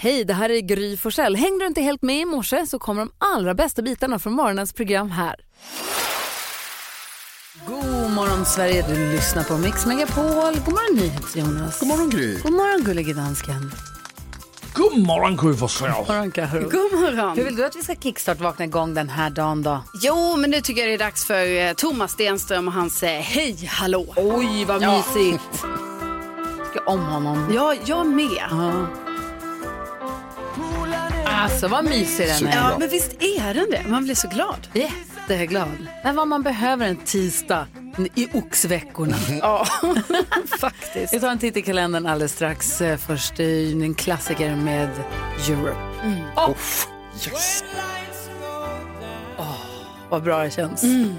Hej, det här är Gry Forssell. Hängde du inte helt med i morse så kommer de allra bästa bitarna från morgonens program här. God morgon Sverige, du lyssnar på Mix Megapol. God morgon NyhetsJonas. God morgon Gry. God morgon gullige dansken. God morgon Gry Forssell. morgon Karo. God morgon. Hur vill du att vi ska kickstart-vakna igång den här dagen då? Jo, men nu tycker jag det är dags för eh, Thomas Stenström och hans eh, Hej hallå. Oj, vad Ja. mysigt. Tycker om honom. Ja, jag med. Ja. Alltså vad mysig den är. Ja, men visst är den det? Man blir så glad. Jätteglad. Men vad man behöver en tisdag i oxveckorna. Ja, faktiskt. Vi tar en titt i kalendern alldeles strax. Eh, Först eh, en klassiker med Europe. Åh, Mm. Yes. vad bra det känns. Mm.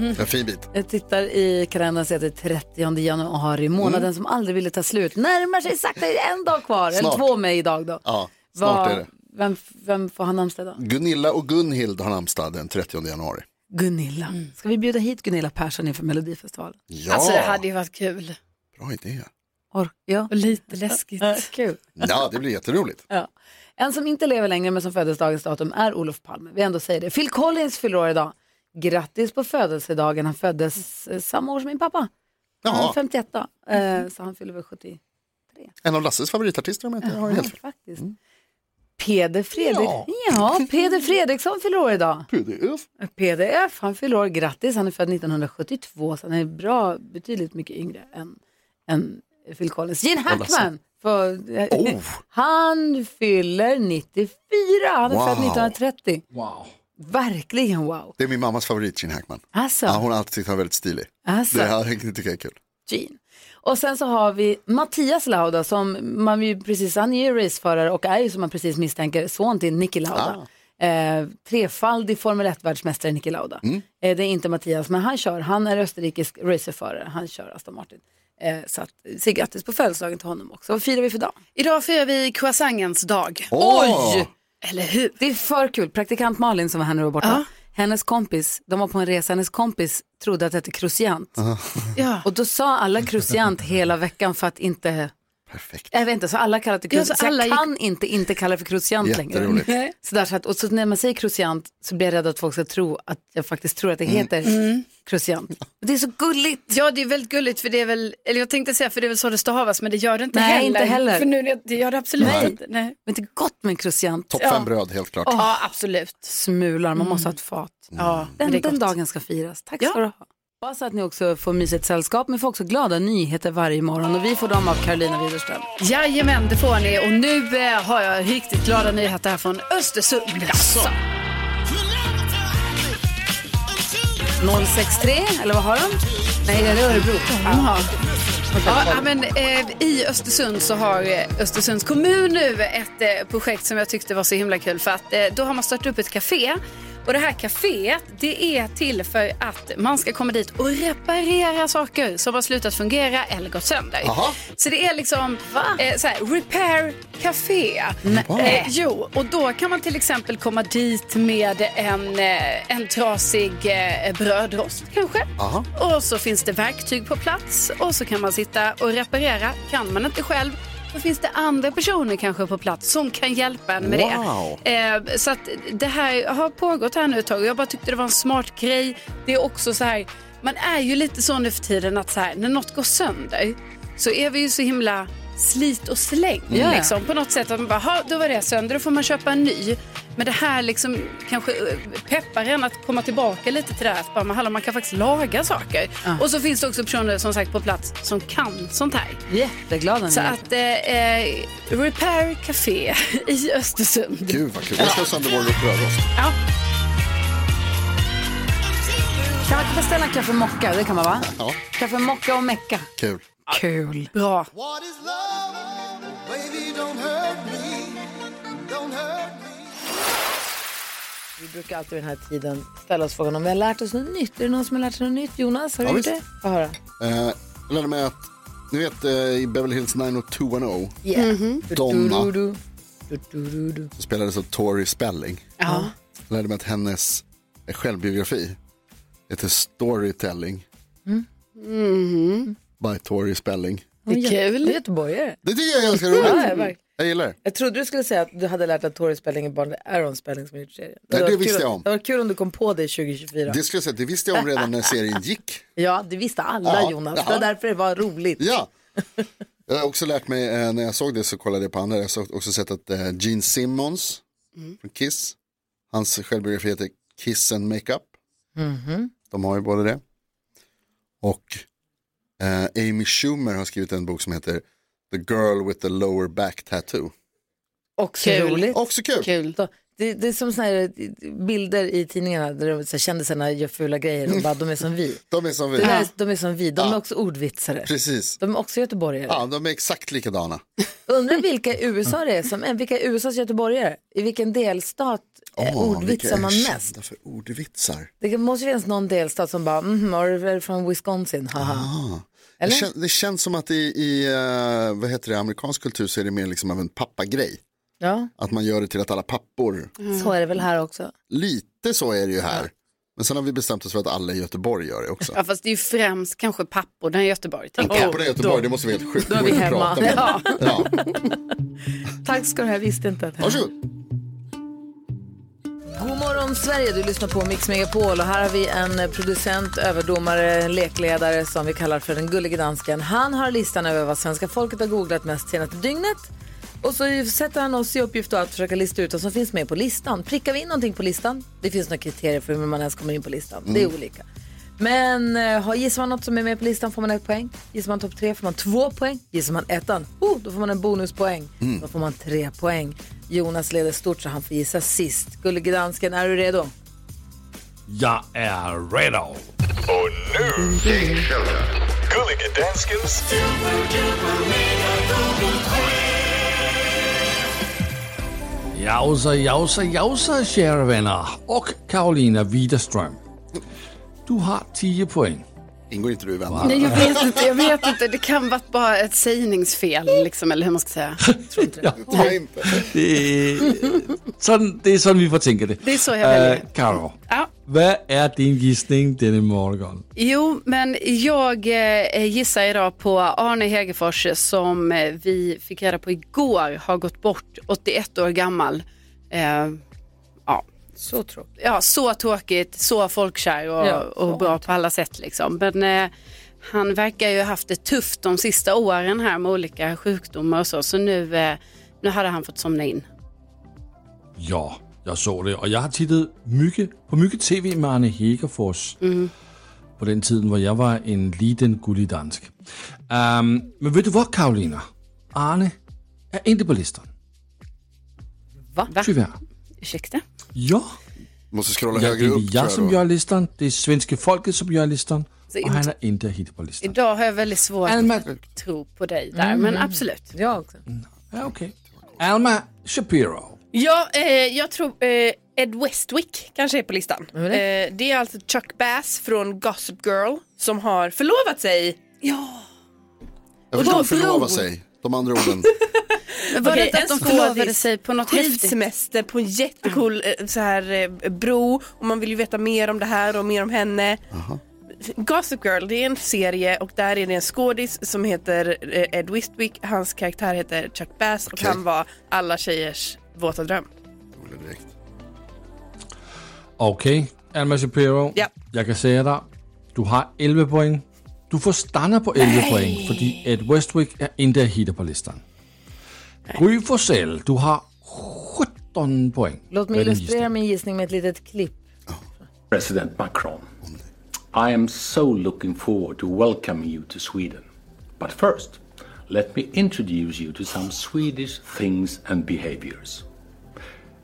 En fin bit. Jag tittar i kalendern och ser att det är 30 januari, månaden Mm. som aldrig ville ta slut. Närmar sig sakta, det är en dag kvar, eller Snart. två med idag då. Ja, snart Vad- är det. Vem, vem får ha namnsdag då? Gunilla och Gunhild har namnsdag den 30 januari. Gunilla. Mm. Ska vi bjuda hit Gunilla Persson inför Melodifestivalen? Ja, Alltså det hade ju varit kul. bra idé. Or- ja. Och lite läskigt. Eh, Kul. Ja, det blir jätteroligt. Ja. En som inte lever längre men som föddes dagens datum är Olof Palme. Vi ändå säger det. Phil Collins fyller år idag. Grattis på födelsedagen. Han föddes eh, samma år som min pappa. Han är Jaha, 51 då. Eh, så han fyller väl 70. en av Lasses favoritartister om jag inte har helt fel. Faktiskt. Peder Fredrik... Mm. ja. Peder Fredriksson fyller år idag. PDF. PDF, han fyller år. Grattis, han är född 1972 så han är bra, betydligt mycket yngre än, än Phil Collins. Gene Hackman! För, alltså. Oh. Han fyller 94, han är Wow. född 1930. Verkligen wow. Det är min mammas favorit, Gene Hackman. Alltså, Ja, hon har alltid tyckt han var väldigt stilig. alltså Det här tycker jag är kul. Gene. Och sen så har vi Mattias Lauda som man ju precis, han är ju raceförare och är ju som man precis misstänker son till Niki Lauda. Eh, trefaldig Formel 1-världsmästare Niki Lauda. Eh, det är inte Mattias, men han kör, han är österrikisk racerförare, han kör Aston Martin. Eh, så att, säg grattis på födelsedagen till honom också. Vad firar vi för dag? Idag firar vi croissangens dag. Åh! Oj! Eller hur? Det är för kul. Praktikant Malin som var här nu och borta, Ja. hennes kompis, de var på en resa, hennes kompis trodde att det hette kruciant. Ja. Och då sa alla kruciant hela veckan för att inte Perfekt. Jag vet inte, så alla kallar det Ja, kruciant. så så alla jag gick- kan inte inte kalla det för kruciant längre. Jätteroligt. Nej. Så där, så att, och så när man säger kruciant så blir jag rädd att folk ska tro att jag faktiskt tror att det Mm. heter kruciant. Det är så gulligt. Ja, det är väldigt gulligt för det är väl, eller jag tänkte säga för det är väl så det stavas, men det gör det inte Nej, heller. inte heller. För nu, det- det gör det absolut Nej. inte. Nej. Men det är gott med en kruciant. Topp Ja. fem bröd, helt klart. Ja, absolut. Smular, man måste ha ett fat. Mm. Ja, men Den, det är den gott. dagen ska firas. Tack ska du ha. Hoppas att ni också får mysigt sällskap, men får också glada nyheter varje morgon. Och vi får dem av Carolina Widerström. Jajamän, det får ni. Och nu eh, har jag riktigt glada nyheter här från Östersund. 063, eller vad har de? Nej, det är Örebro. Ja. Ja, men, eh, I Östersund så har eh, Östersunds kommun nu ett eh, projekt som jag tyckte var så himla kul för att eh, då har man startat upp ett café och det här caféet det är till för att man ska komma dit och reparera saker som har slutat fungera eller gått sönder. Aha. Så det är liksom eh, så här, repair café. Eh, jo, och då kan man till exempel komma dit med en, eh, en trasig eh, brödrost kanske. Aha. Och så finns det verktyg på plats och så kan man sitta och reparera. Kan man inte själv då finns det andra personer kanske på plats som kan hjälpa en med Wow. det. Eh, så att det här har pågått här nu ett tag och jag bara tyckte det var en smart grej. Det är också så här, man är ju lite så nu för tiden att så här, när något går sönder så är vi ju så himla slit och släng. Ja. Liksom, på något sätt att man bara, "Ha, då var det sönder, då får man köpa en ny. Men det här liksom kanske eh, peppar en att komma tillbaka lite till det här. Att bara, "Men hallå, man kan faktiskt laga saker. Och så finns det också personer som sagt på plats som kan sånt här. Jätteglada Så nyheter. att eh, eh, Repair Café i Östersund. Gud vad kul. Jag ska sönder vår brödrost. Ja. Kan man beställa en kaffe mocka? Det kan man va? Ja. Kaffe mocka och mecka. Kul. Kul. Bra. What is love? Baby, don't hurt me. Don't hurt me. Vi brukar alltid vid den här tiden ställa oss frågan om vi har lärt oss något nytt. Är det någon som har lärt sig något nytt? Jonas, har du Ja, gjort det? visst. Få höra. Eh, jag lärde mig att, ni vet eh, i Beverly Hills 90210, Yeah. Donna, Du-du-du. Du-du-du-du. som spelades av Tori Spelling. Ja. Jag lärde mig att hennes eh, självbiografi heter Storytelling by Tori Spelling. Det är Hon är kul. göteborgare. Det tycker jag är ganska roligt. verkligen. Jag gillar det. Jag trodde du skulle säga att du hade lärt dig att Tori Spelling är barn till Aaron Spelling som har gjort serien. Nej, det hade varit visste kul- jag om. Det var kul om du kom på det 2024. Det skulle jag säga, det visste jag om redan när serien gick. Ja, det visste alla Ja, Jonas. Det ja. var därför det var roligt. Ja. Jag har också lärt mig, eh, när jag såg det så kollade jag på andra, jag har också sett att eh, Gene Simmons Mm. från Kiss, hans självbiografi heter Kiss and Makeup. Mhm. De har ju både det. Och eh, Amy Schumer har skrivit en bok som heter The Girl with the Lower Back Tattoo. Också Kul. roligt. Också kul. Kul. Så, Det, det är som såna här eh, bilder i tidningarna där de, så här, kändisarna gör fula grejer och bara de är som vi. De är som vi. De är, de är som vi, de är Ja. också ordvitsare. Precis. De är också göteborgare. Ja, de är exakt likadana. Undrar vilka i USA det är som är, vilka är USAs göteborgare? I vilken delstat eh, Åh, vilka ordvitsar är man mest? kända för ordvitsar? Det måste ju finnas någon delstat som bara, mm, är du från Wisconsin, haha. Ah. Det, Eller? kän, det känns som att i, i eh, vad heter det, amerikansk kultur så är det mer liksom av en pappagrej. Ja, Att man gör det till att alla pappor, så är det väl här också. lite så är det ju här. Men sen har vi bestämt oss för att alla i Göteborg gör det också. Ja, fast det är ju främst kanske papporna i Göteborg. Tänker jag. Papporna i Göteborg, det måste vara helt sjukt. då är vi Det går inte hemma. att prata med. Ja. Tack ska du ha, jag visste inte. Att... Varsågod. God morgon Sverige, du lyssnar på Mix Megapol och här har vi en producent, överdomare, lekledare som vi kallar för den gullige dansken. Han har listan över vad svenska folket har googlat mest senaste dygnet. Och så sätter han oss i uppgift då att försöka lista ut vad som finns med på listan. Prickar vi in någonting på listan? Det finns några kriterier för hur man ens kommer in på listan. Det är olika. Men eh, har- gissar man något som är med på listan får man ett poäng. Gissar man topp tre får man två poäng. Gissar man ettan, oh, då får man en bonuspoäng. Då får man tre poäng. Jonas leder stort så han får gissa sist. Gullige dansken, är du redo? Jag är redo. Och nu, Gängfällan. Gullige danskens Jausa, jausa, jausa, kära vänner. Och Karolina Widerström. Du har 10 poäng. Ingår inte du i vännerna? Nej, jag vet inte. Jag vet inte. Det kan vara bara ett sägningsfel, liksom, eller hur man ska säga. Nej, inte. Det är, sådan, det är sådan, vi får tänka det. Det är så jag väljer. Øh, Karo, Ja. vad är din gissning denna morgon? Jo, men jag eh, gissar idag på Arne Hegerfors som eh, vi fick reda på igår har gått bort, 81 år gammal. Eh, Så tråkigt. ja, så tråkigt, så folkkär och, Ja, och bra på alla sätt. Liksom. Men eh, han verkar ju ha haft det tufft de sista åren här med olika sjukdomar och så. Så nu, eh, nu hade han fått somna in. Ja, jag såg det. Och jag har tittat mycket på mycket tv med Arne Hegerfors. Mhm. På den tiden var jag var en liten gullig dansk. Ehm, men vet du vad Karolina? Arne är inte på listan. Va? Tyvärr. Ursäkta? Ja, Måste scrolla ja det högre upp. är tror jag jag som då. gör listan. Det är svenska folket som gör listan. Och inte- han är inte hit på listan. Idag har jag väldigt svårt Alma, att tro på dig där, Mm. men absolut. Jag också. ja, okay. Alma Shapiro. Ja, eh, jag tror eh, Ed Westwick kanske är på listan. är det? Eh, det är alltså Chuck Bass från Gossip Girl som har förlovat sig. Jag förstår Och då förlova bror. sig. De andra orden. Men var Okej, det inte att en de förlovade skådis. sig på något häftigt? Skidsemester på en jättecool eh, så här, eh, bro och man vill ju veta mer om det här och mer om henne. Gossip Girl det är en serie och där är det en skådis som heter eh, Ed Westwick. Hans karaktär heter Chuck Bass Okej. och han var alla tjejers våta dröm. Rolig direkt. Okej, Alma Shapiro. Ja. Jag kan säga dig, du har 11 poäng. Du får stanna på 11 poäng, fordi Ed Westwick är inte at hitte på listan. Gry Forssell, du har 17 poäng. Låt mig Hvad er din illustrera min gissning med ett litet klipp. President Macron, I am so looking forward to welcoming you to Sweden. But first, let me introduce you to some Swedish things and behaviors.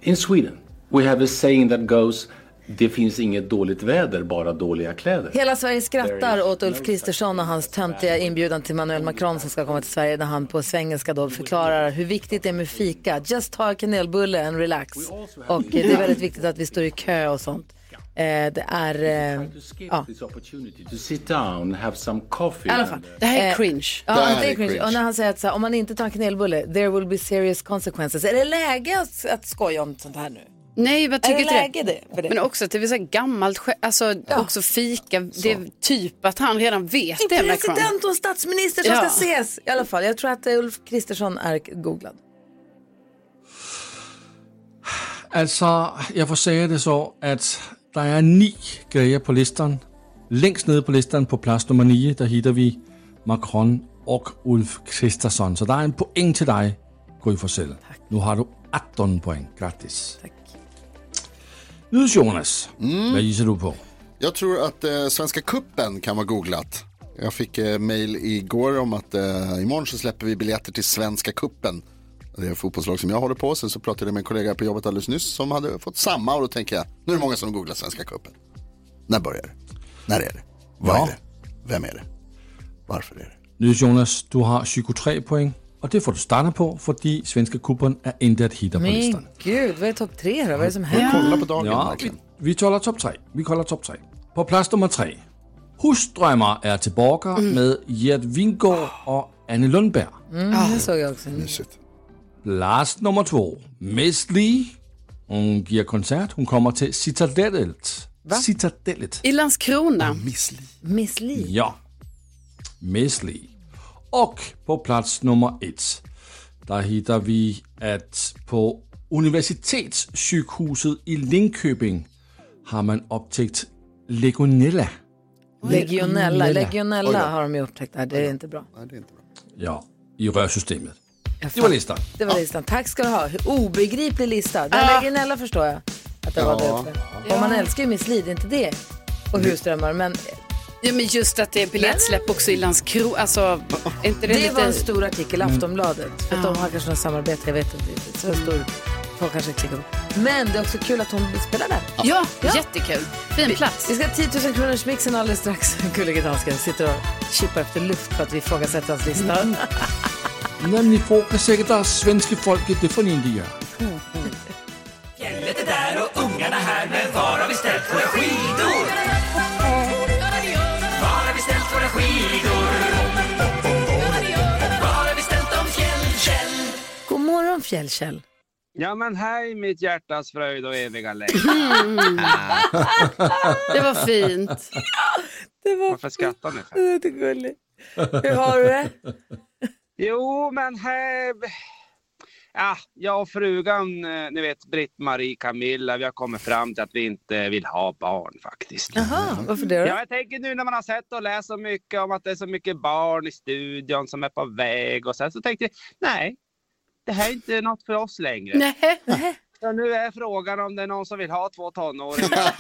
In Sweden, we have a saying that goes, det finns inget dåligt väder, bara dåliga kläder. Hela Sverige skrattar åt Ulf Kristersson och hans töntiga inbjudan till Manuel Macron som ska komma till Sverige när han på svengelska då förklarar hur viktigt det är med fika. Just ta en kanelbulle and relax. Och eh, det är väldigt viktigt att vi står i kö och sånt. Eh, det är... Eh, To skip ja. this opportunity to sit down, have some coffee. I alla fall. and, uh, Det här är Eh, cringe. Där Ja, är det är cringe. cringe. Och när han säger att så här, om man inte tar en kanelbulle, there will be serious consequences. Är det läge att, att skoja om sånt här nu? Nej, jag tycker är det inte läge det, för det? Men också att det är så här gammalt, skä- alltså också fika, det är typ att han redan vet En det Macron. president och en statsminister som Ja. ska ses. I alla fall, jag tror att eh, Ulf Kristersson är googlad. Altså, jeg får sige det så, at der er ni grejer på listen. Længst nede på listen på plads nummer 9, der hitter vi Macron og Ulf Kristersson. Så der er en point til dig, Gry Forssell. Nu har du 18 point. Gratis. Tak. Nydes Jonas, hvad giser du på? Jag tror att eh, Svenska Kuppen kan vara googlat. Jag fick eh, mail igår om att eh, imorgon så släpper vi biljetter till Svenska Kuppen. Det är ett fotbollslag som jag håller på. Sen så pratade jag med en kollega på jobbet alldeles nyss som hade fått samma och då tänker jag, nu är det många som googlar Svenska Kuppen. När börjar det? När är det? Vad Ja. är det? Vem är det? Varför är det? Nydes Jonas, du har 23 point, og det får du starter på, fordi svenske kupperen er intet hitter på listen. Men gud, vad är topp tre då? Vad är det som händer? Kolla på dagen Ja, vi, verkligen. vi kolder top 3. Vi kolder top 3. På plads nummer 3. Husdrømmer er til Borger med Gert Vingård och Anne Lundberg. Mm, det såg jag också. Mysigt. Plads nummer 2. Miss Lee. Hun giver koncert. Hun kommer til Citadellet. Citadellet. I Landskrona. Miss Li. Ja. Miss Lee. Og på plads nummer 1. Der hitter vi, at på Universitetssygehuset i Linköping har man optaget Legionella. Legionella. Oj då. Legionella har de ju upptäckt där. Det är inte bra. Nej, det är inte bra. Ja, i rørsystemet. Det var listan. Det var listan. Tack ska du ha. Obegriplig lista. Den ah. Legionella förstår jag att den var där uppe. Och man älskar ju Miss Li, det är inte det. Och Mm. husdrömmar. Men Ja, men just att det är biljettsläpp också i Landskrona. Alltså, är inte det, det lite... var en stor artikel Mm. i Aftonbladet. För att de har kanske något samarbete, jag vet inte. riktigt. Så en stor... Folk kanske klickar på. Men det är också kul att hon spelar där. Ja, jättekul. Fin plats. Vi ska ha 10 000 kronors mixen alldeles strax. Gullige dansken sitter och kippar efter luft för att vi ifrågasätter hans lista. Nemlig folk er sikkert, der er svenske folket, det fornede de gør. God morgon Fjällkäll. Ja men hej mitt hjärtas fröjd och eviga längd. Det var fint. Det var Varför skrattar ni? för? det är gulligt. Hur har du det? Jo men hej. Ja, jag och frugan, eh, ni vet Britt-Marie Camilla, vi har kommit fram till att vi inte vill ha barn faktiskt. Jaha, varför det Ja, då? jag tänker nu när man har sett och läst så mycket om att det är så mycket barn i studion som är på väg och sen så tänkte jag, nej, det här är inte något för oss längre. Nej. Så nu är frågan om det är någon som vill ha två tonåringar.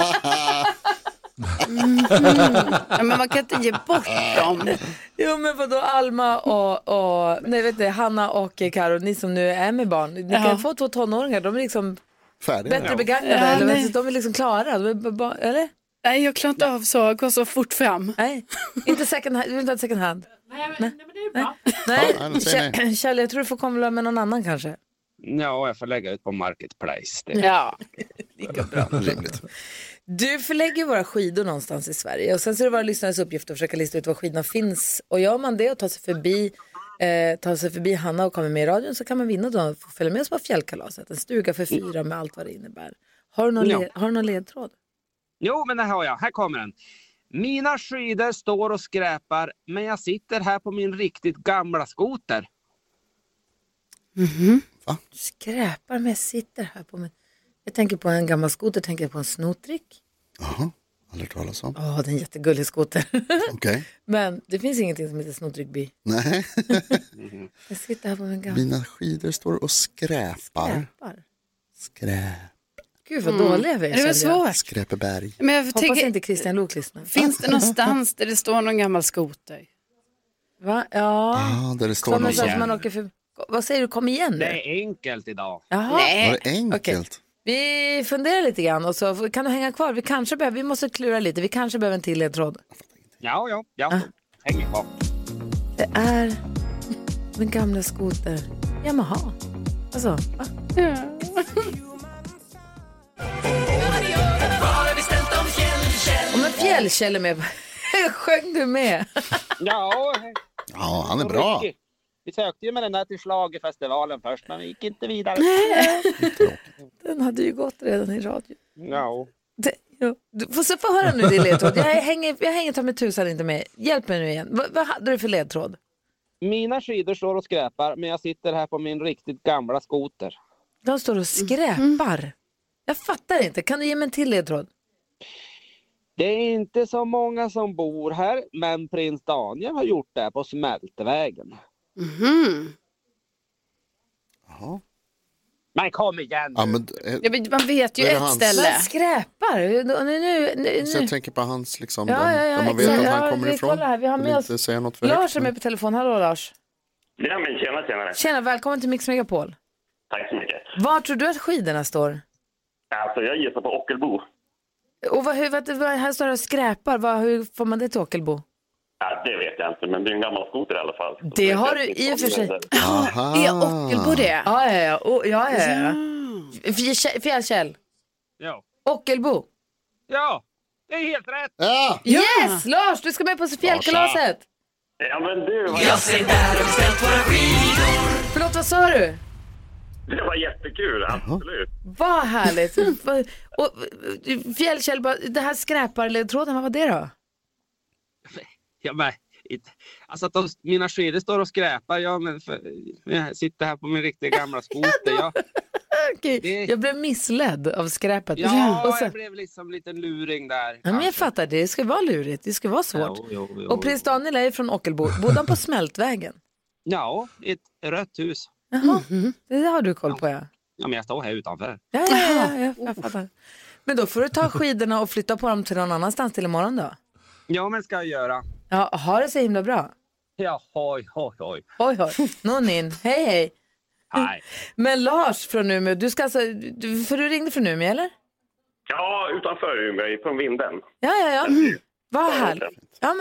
Ja, men man kan inte ge bort dem. Jo men vadå Alma och, och nej vet inte, Hanna och eh, Karo, ni som nu är med barn. Ni kan Ja. få två tonåringar, de är liksom Färdiga. bättre begagnade. Ja, eller, nej. de är liksom klara, de är, ba- ba- eller? Nej, jag klarar inte av så. Gå så fort fram. Nej, inte second hand. Du vill inte ha ett second hand? Ja, Nej, nej, men då det säger är bra. Nej, Kjell, jag tror du får komma med någon annan kanske. ja, jag får lägga ut på Marketplace. Det. Ja. Rimligt. Du förlägger våra skidor någonstans i Sverige och sen så är det våra lyssnares uppgift att försöka lista ut var skidorna finns. Och gör man det och tar sig förbi, eh, tar sig förbi Hanna och kommer med i radion så kan man vinna då och få följa med oss på fjällkalaset. En stuga för fyra med allt vad det innebär. Har du någon, Ja. led, har du någon ledtråd? Jo, men det har jag. Här kommer den. Mina skidor står och skräpar, men jag sitter här på min riktigt gamla skoter. Skräpar med sitter här på min... Jag tänker på en gammal skoter, tänker jag på en snotrik. Jaha, aldrig hört talas om. Åh, det är en jättegullig skoter. Okej. Men det finns ingenting som heter snotrikby. Nej, Jag sitter här på min gamla... mina skidor står och skräpar. Skräpar. Skräp. Gud vad dåliga vi är. Det var kände jag. svårt. Skräpeberg. Men jag Hoppas tänker, inte Christian Lok lyssnar. finns det någonstans där det står någon gammal skoter? Va? Ja. Ja, där det står Kommer någon som... så att man åker för... Vad säger du, kom igen Det nu? är enkelt idag. Jaha. Var Eh, det Okej. enkelt? Vi funderar lite grann och så får- kan du hänga kvar. Vi kanske behöver, vi måste klura lite, vi kanske behöver en till ledtråd. Ja, ja, ja. Häng kvar. Det är min gamla skoter Yamaha. Alltså, va? Om en fjällkäll är med, sjöng du med? Ja, Ja, han är bra. Ricky. Vi sökte ju med den där till schlagerfestivalen först, men vi gick inte vidare. Den hade ju gått redan i radio. Ja. Det, ja. Du får, så få höra nu din ledtråd. Jag hänger, jag hänger ta mig tusan inte med. Hjälp mig nu igen. Vad- vad hade du för ledtråd? Mina skidor står och skräpar, men jag sitter här på min riktigt gamla skoter. De står och skräpar. Jag fattar inte. Kan du ge mig en till ledtråd? Det är inte så många som bor här, men prins Daniel har gjort det här på Smältvägen. Mhm. Jaha. Men kom igen Ja, men, eh, Ja, men man vet ju Är det ett hans? ställe. Men skräpar. Nu, nu, nu. så jag tänker på hans liksom, Ja, den, ja, ja, där man vet exakt. att han Ja, kommer vi ifrån. kollar här. Vi har Vill med inte oss säga något för Lars är högt, med men- på telefon. Hallå Lars. Ja, men tjena, tjenare. Tjena, välkommen till Mix Megapol. Tack så mycket. Var tror du att skidorna står? Alltså, jag gissar på Ockelbo. Och vad, hur, vad, vad, här står det skräpar. Vad, hur får man det till Ockelbo? Ja, det vet jag inte, men det är en gammal skoter i alla fall. Det har du i och för sig. Aha. Är Ockelbo det? Ja, ja, ja. Oh, ja, ja, ja. Fjär- Fjällkäll. Ja. Ockelbo. ja, det är helt rätt. Ja, Yes, Lars, du ska med på fjällkalaset. Ja, men du, vad... Förlåt, vad sa du? det var jättekul, absolut. Vad härligt. Vad- och, fjällkäll, bara, det här skräparledtråden, vad var det då? Ja, men, inte- alltså att de, mina skidor står och skräpar. Ja, men för, jag sitter här på min riktiga gamla skoter. Ja, Okej, Det- Jag blev missledd av skräpet. och ja sen, jag blev liksom en liten luring där. ja, men jag kanske. fattar, det ska vara lurigt, det ska vara svårt. Jo, jo, jo. Och prins Daniel är ju från Ockelbo. Bodde han på Smältvägen? Ja, ett rött hus. Jaha, det har du koll på ja. Ja, men jag står här utanför. Ja, ja, ja, ja jag fattar. Men då får du ta skidorna och flytta på dem till någon annanstans till imorgon då. Ja, men ska jag göra. Ja, ha det så himla bra. Ja, hoj, hoj, hoj. Oj, oj. Nonin, hej, hej. Nej. Men Lars från Umeå, du ska alltså, du- för du ringde från Umeå eller? Ja, utanför Umeå, från vinden. Ja, ja, ja. Vad härligt. Ja,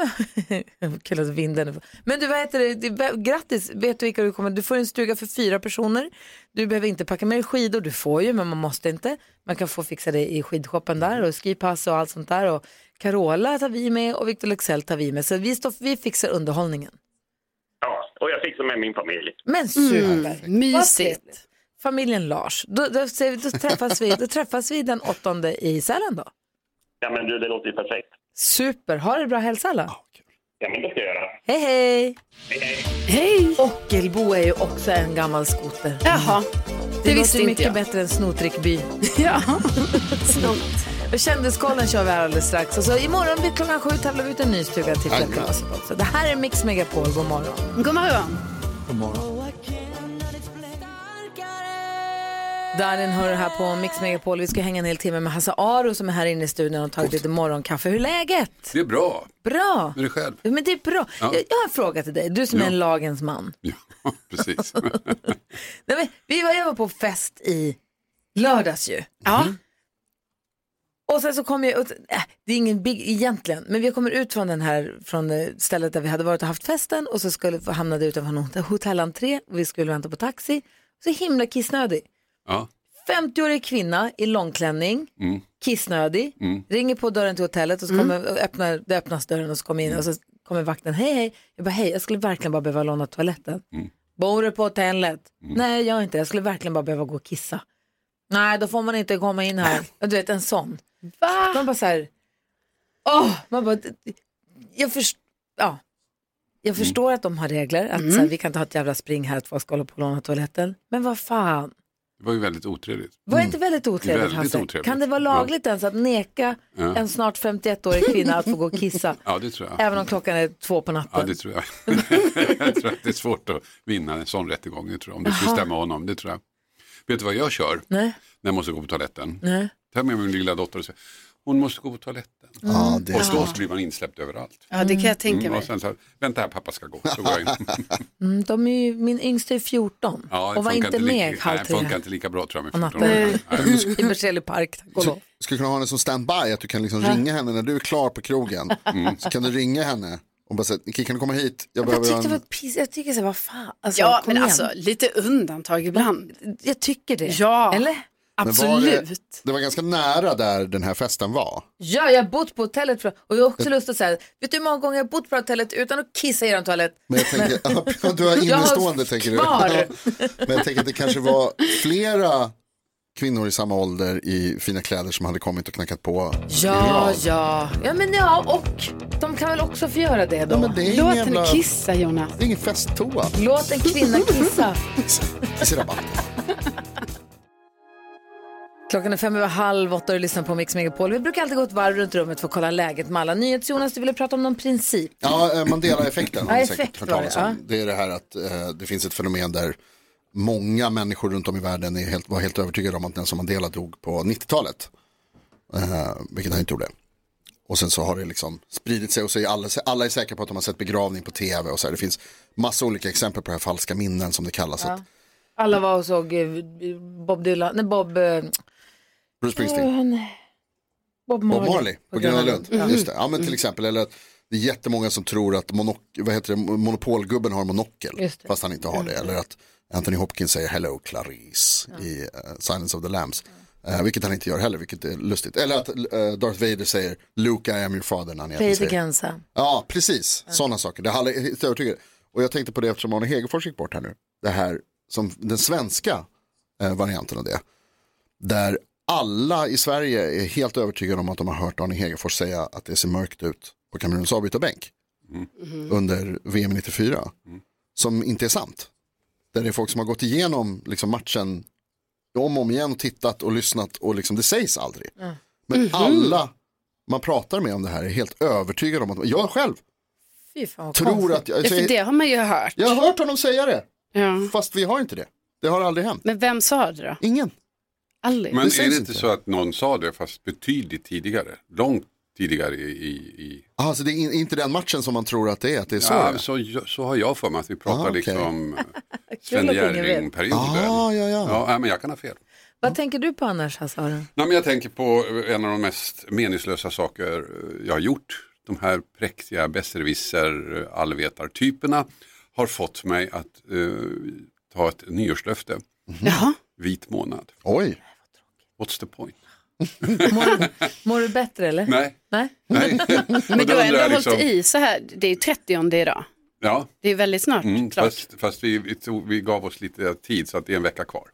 men, kul att vinden är på. Men du, vad heter det? det? Grattis, vet du vilka du kommer? Du får en stuga för fyra personer. Du behöver inte packa med dig skidor, du får ju, men man måste inte. Man kan få fixa det i skidshoppen där och skipass och allt sånt där. Och Carola tar vi med och Victor Lexell tar vi med. Så vi, står, vi fixar underhållningen. Ja, och jag fixar med min familj. Men super! Vad Mysigt. trevligt. Familjen Lars, då, då, säger vi- då, träffas vi, då träffas vi den åttonde i Sälen då. Ja, men du, det låter ju perfekt. Super, ha det bra, hälsa alla. Ja, men det ska jag göra. Hej hej! Hej! Ockelbo är ju också en gammal skoter. Jaha, Det, det låter visste ju inte mycket jag. bättre än Snotrickby. Ja. Och Kändiskollen kör vi här alldeles strax. Och så imorgon vid klockan sju tävlar vi ut en ny stuga till Jajamän. fjällkalaset också. Det här är Mix Megapol, god morgon. God morgon. Godmorgen. Darin hör det här på Mix Megapol. Vi ska hänga en hel timme med Hasse Aro som är här inne i studion och har tagit lite morgonkaffe. Hur är läget? Det är bra. Bra! Hur är det själv? Ja, Men det är bra. Jag, jag har en fråga till dig, du som är Ja. en lagens man. Ja, precis. Nej, men, vi var, jag var på fest i lördags ju. Mm. Ja. Och sen så kom jag, och, äh, det är ingen big egentligen, men vi kommer ut från den här, från eh, stället där vi hade varit och haft festen och så skulle, hamnade jag utanför en hotell- hotellentré och vi skulle vänta på taxi. Så himla kissnödig. Ja. Mm. 50-årig kvinna i långklänning, kissnödig, ringer på dörren till hotellet och så kommer, och öppnar, det öppnas dörren och så kommer in och så kommer vakten, hej hej. Jag bara, hej, jag skulle verkligen bara behöva låna toaletten. Mm. Bor du på hotellet? Nej, jag gör inte det. Jag skulle verkligen bara behöva gå och kissa. Nej, då får man inte komma in här. Och Du vet, en sån. Man bara så här, åh, man bara, jag förstår, ja. Jag Mm. förstår att de har regler, att så här, vi kan inte ha ett jävla spring här att folk ska hålla på och låna toaletten. Men vad fan. Det var ju väldigt otrevligt. Var det inte väldigt otrevligt, Mm. Väldigt Hasse? otrevligt. Kan det vara lagligt ens att neka Ja. en snart 51-årig kvinna att få gå och kissa? Ja, det tror jag. Även om klockan är två på Ja, natten. det tror jag. jag tror att det är svårt att vinna en sån rättegång, det tror jag. Om det skulle stämma honom, det tror jag. Vet du vad jag kör Nej, när jag måste gå på toaletten? nej. Tar med min lilla dotter och säger, hon måste gå på toaletten. Mm. ja, det är Och då så blir man insläppt överallt. Ja, det kan jag tänka Mm, och mig. sen så, här, vänta här, pappa ska gå. Så går jag in. Mm, de är ju, min yngste är 14 Ja, det och var funkar inte lika- med halv Nej, det funkar tre inte lika bra tror jag på med 14 natten år. Nej, i Berzelii park. tack och lov. skulle kunna ha henne som standby, att du kan liksom ringa henne när du är klar på krogen. Så kan du ringa henne och bara säga, "Nicky, kan du komma hit? Jag Jag behöver tyckte det var en... pis, jag tycker så här, vad fan, alltså, Ja, kom men igen. alltså lite undantag ibland. Jag tycker det. Ja. Eller? Men var Absolut. Det, det var ganska nära där den här festen var. Ja, jag har bott på hotellet för, och jag har också lust att säga, vet du hur många gånger jag har bott på hotellet utan att kissa i en toalett? Men jag tänker, ja, du har Jag har innestående tänker du. kvar. Ja. Men jag tänker att det kanske var flera kvinnor i samma ålder i fina kläder som hade kommit och knackat på. Ja, ja. Ja, men ja, och de kan väl också få göra det då? Ja, men det är ingen Låt jävla... henne kissa Jonas. Det är ingen festtoa. Låt en kvinna kissa. Kissrabatt. Klockan är fem över halv åtta och du lyssnar på Mix Megapol. Vi brukar alltid gå ett varv runt rummet för att kolla läget med alla. Nyhets-Jonas, du ville prata om någon princip. Ja, eh, Mandela-effekten har Ja, ni effekt säkert hört var det, talas om. Det är det här att eh, det finns ett fenomen där många människor runt om i världen är helt, var helt övertygade om att Nelson Mandela dog på 90-talet. Eh, vilket han inte gjorde. Och sen så har det liksom spridit sig och så är alla, alla är säkra på att de har sett begravning på tv och så här. Det finns massa olika exempel på det här falska minnen som det kallas. Att Ja. Alla var och såg eh, Bob Dylan, nej Bob... eh, Bruce Springsteen. eh, nej. Bob Marley. Bob Marley på Gröna Lund. Mm. Just det. Ja, men till exempel, eller att det är jättemånga som tror att monock, vad heter det, monopolgubben har monokel, Just det. fast han inte har det. Eller att Anthony Hopkins säger Hello Clarice i eh, Silence of the Lambs. Eh, vilket han inte gör heller, vilket är lustigt. Eller att eh, Darth Vader säger Luke I am your father när han Play egentligen the säger. Kenza. Ja, precis. Sådana saker. Det är alla helt övertygade. Och jag tänkte på det eftersom Arne Hegerfors gick bort här nu. Det här som den svenska eh, varianten av det. Där alla i Sverige är helt övertygade om att de har hört Arne Hegerfors säga att det ser mörkt ut på Kameruns avbytarbänk under VM 94. Som inte är sant. Där det är folk som har gått igenom liksom, matchen om och om igen och tittat och lyssnat och liksom, det sägs aldrig. Men alla man pratar med om det här är helt övertygad om att jag själv Fy fan vad tror konstigt. att jag, Ja, för det har man ju hört. jag har hört honom säga det. Ja. Fast vi har inte det. Det har aldrig hänt. Men vem sa det då? Ingen. Aldrig. Men Det är sägs det inte så att någon sa det fast betydligt tidigare? Långt tidigare i... i, i... Ah, så det är in- inte den matchen som man tror att det är, att det är så? Ja, det är. så, jag- så har jag för mig att vi pratar Ah, okej. liksom Kul Sven att ingen vet. Jerring-perioden. Ah, ja, ja. Ja, nej, men jag kan ha fel. Vad tänker du på annars, Hasse Aron? Nej, men jag tänker på eh, en av de mest meningslösa saker eh, jag har gjort. De här präktiga besserwisser eh, allvetartyperna har fått mig att eh, ta ett nyårslöfte. Jaha. Vit månad. Oj, What's the point? Mår du bättre eller? Nej. Nej? Nej. Men du har ändå liksom- hållit i så här, det är 30 idag. Ja, Det är väldigt snart mm, klart. fast, fast vi, vi, tog, vi gav oss lite tid så att det är en vecka kvar.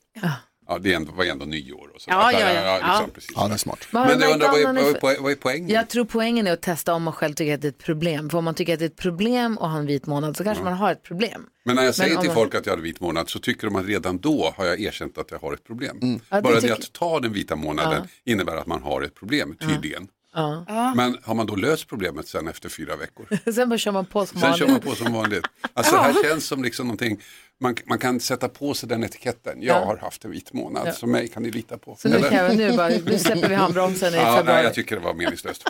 Ja. det är ändå, var ändå nyår och så. Ja, Att- ja, ja. liksom, Ja. precis. ja, det är smart. Vad har Men du jag märkt undrar, vad är, annan vad, är, effekt? vad, är, vad är poängen? Jag tror poängen är att testa om man själv tycker att det är ett problem. För om man tycker att det är ett problem och har en vit månad så kanske man har ett problem. Men när jag säger om till man- folk att jag hade vit månad så tycker de att redan då har jag erkänt att jag har ett problem. Mm. Ja, det Bara det tycker- att ta den vita månaden innebär att man har ett problem, tydligen. Ja. Men har man då löst problemet sen efter fyra veckor? Sen bara kör man på som Sen vanligt. kör man på som vanligt. Alltså det här känns som liksom någonting, man, man kan sätta på sig den etiketten, jag Ja. har haft en vit månad, så mig kan ni lita på. Så nu, Eller? kan jag, nu, bara, nu släpper vi handbromsen i Ja, nej, februari. jag tycker det var meningslöst.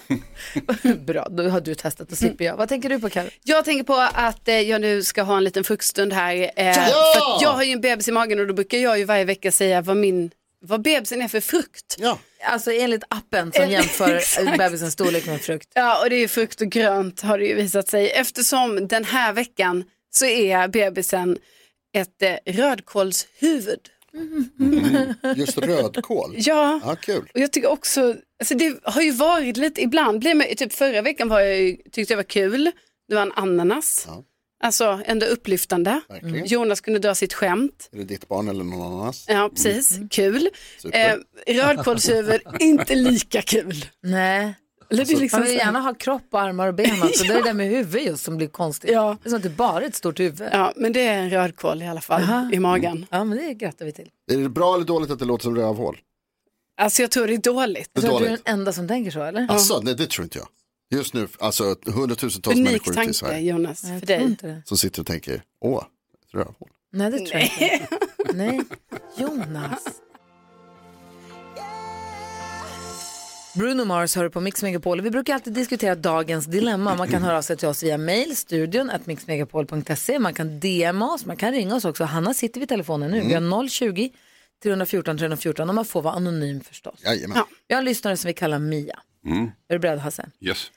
Bra, då har du testat och slipper jag. Vad tänker du på Karin? Jag tänker på att eh, jag nu ska ha en liten fruktstund här. Eh, För att jag har ju en bebis i magen och då brukar jag ju varje vecka säga vad, min, vad bebisen är för frukt. Ja. Alltså enligt appen som jämför bebisens storlek med en frukt. Ja, och det är ju frukt och grönt har det ju visat sig. Eftersom den här veckan så är bebisen ett eh, rödkålshuvud. Mm. Just rödkål. Ja, Ja, kul. och jag tycker också, alltså det har ju varit lite, ibland blir man, typ förra veckan var jag ju, tyckte jag var kul, det var en ananas. Ja. Alltså ändå upplyftande. Verkligen. Jonas kunde dra sitt skämt. Är det ditt barn eller någon annans? Ja, precis. Mm-hmm. Kul. Eh, Super. rödkålshuvud, inte lika kul. Nej. Eller det är Man liksom vill så här- gärna ha kropp och armar och ben alltså. Det är det där med huvud just som blir konstigt. Ja. Det är som att det bara är ett stort huvud. Ja, ja, men det är en rödkål i alla fall i magen. men det grattar vi till. Är det bra eller dåligt att det låter som rövhål? Alltså jag tror det är dåligt. Det är Så du är dåligt. den enda som tänker så eller? Alltså, nej, det tror inte jag. Just nu, alltså hundratusentals Unik människor ute i tanke Sverige Jonas, Nej, för jag tror dig. inte det. som sitter och tänker, åh, ett rövhål. Nej, det tror jag inte. Nej, Jonas. Bruno Mars hör på Mix Megapol. Vi brukar alltid diskutera dagens dilemma. Man kan höra av sig till oss via mail, studion, at mixmegapol.se. Man kan DM oss, man kan ringa oss också. Hanna sitter vid telefonen nu. Vi har 020 314 314 och man får vara anonym förstås. Jajamän. Ja. Jag har en lyssnare som vi kallar Mia. Mm. Är du beredd Hasse? Yes.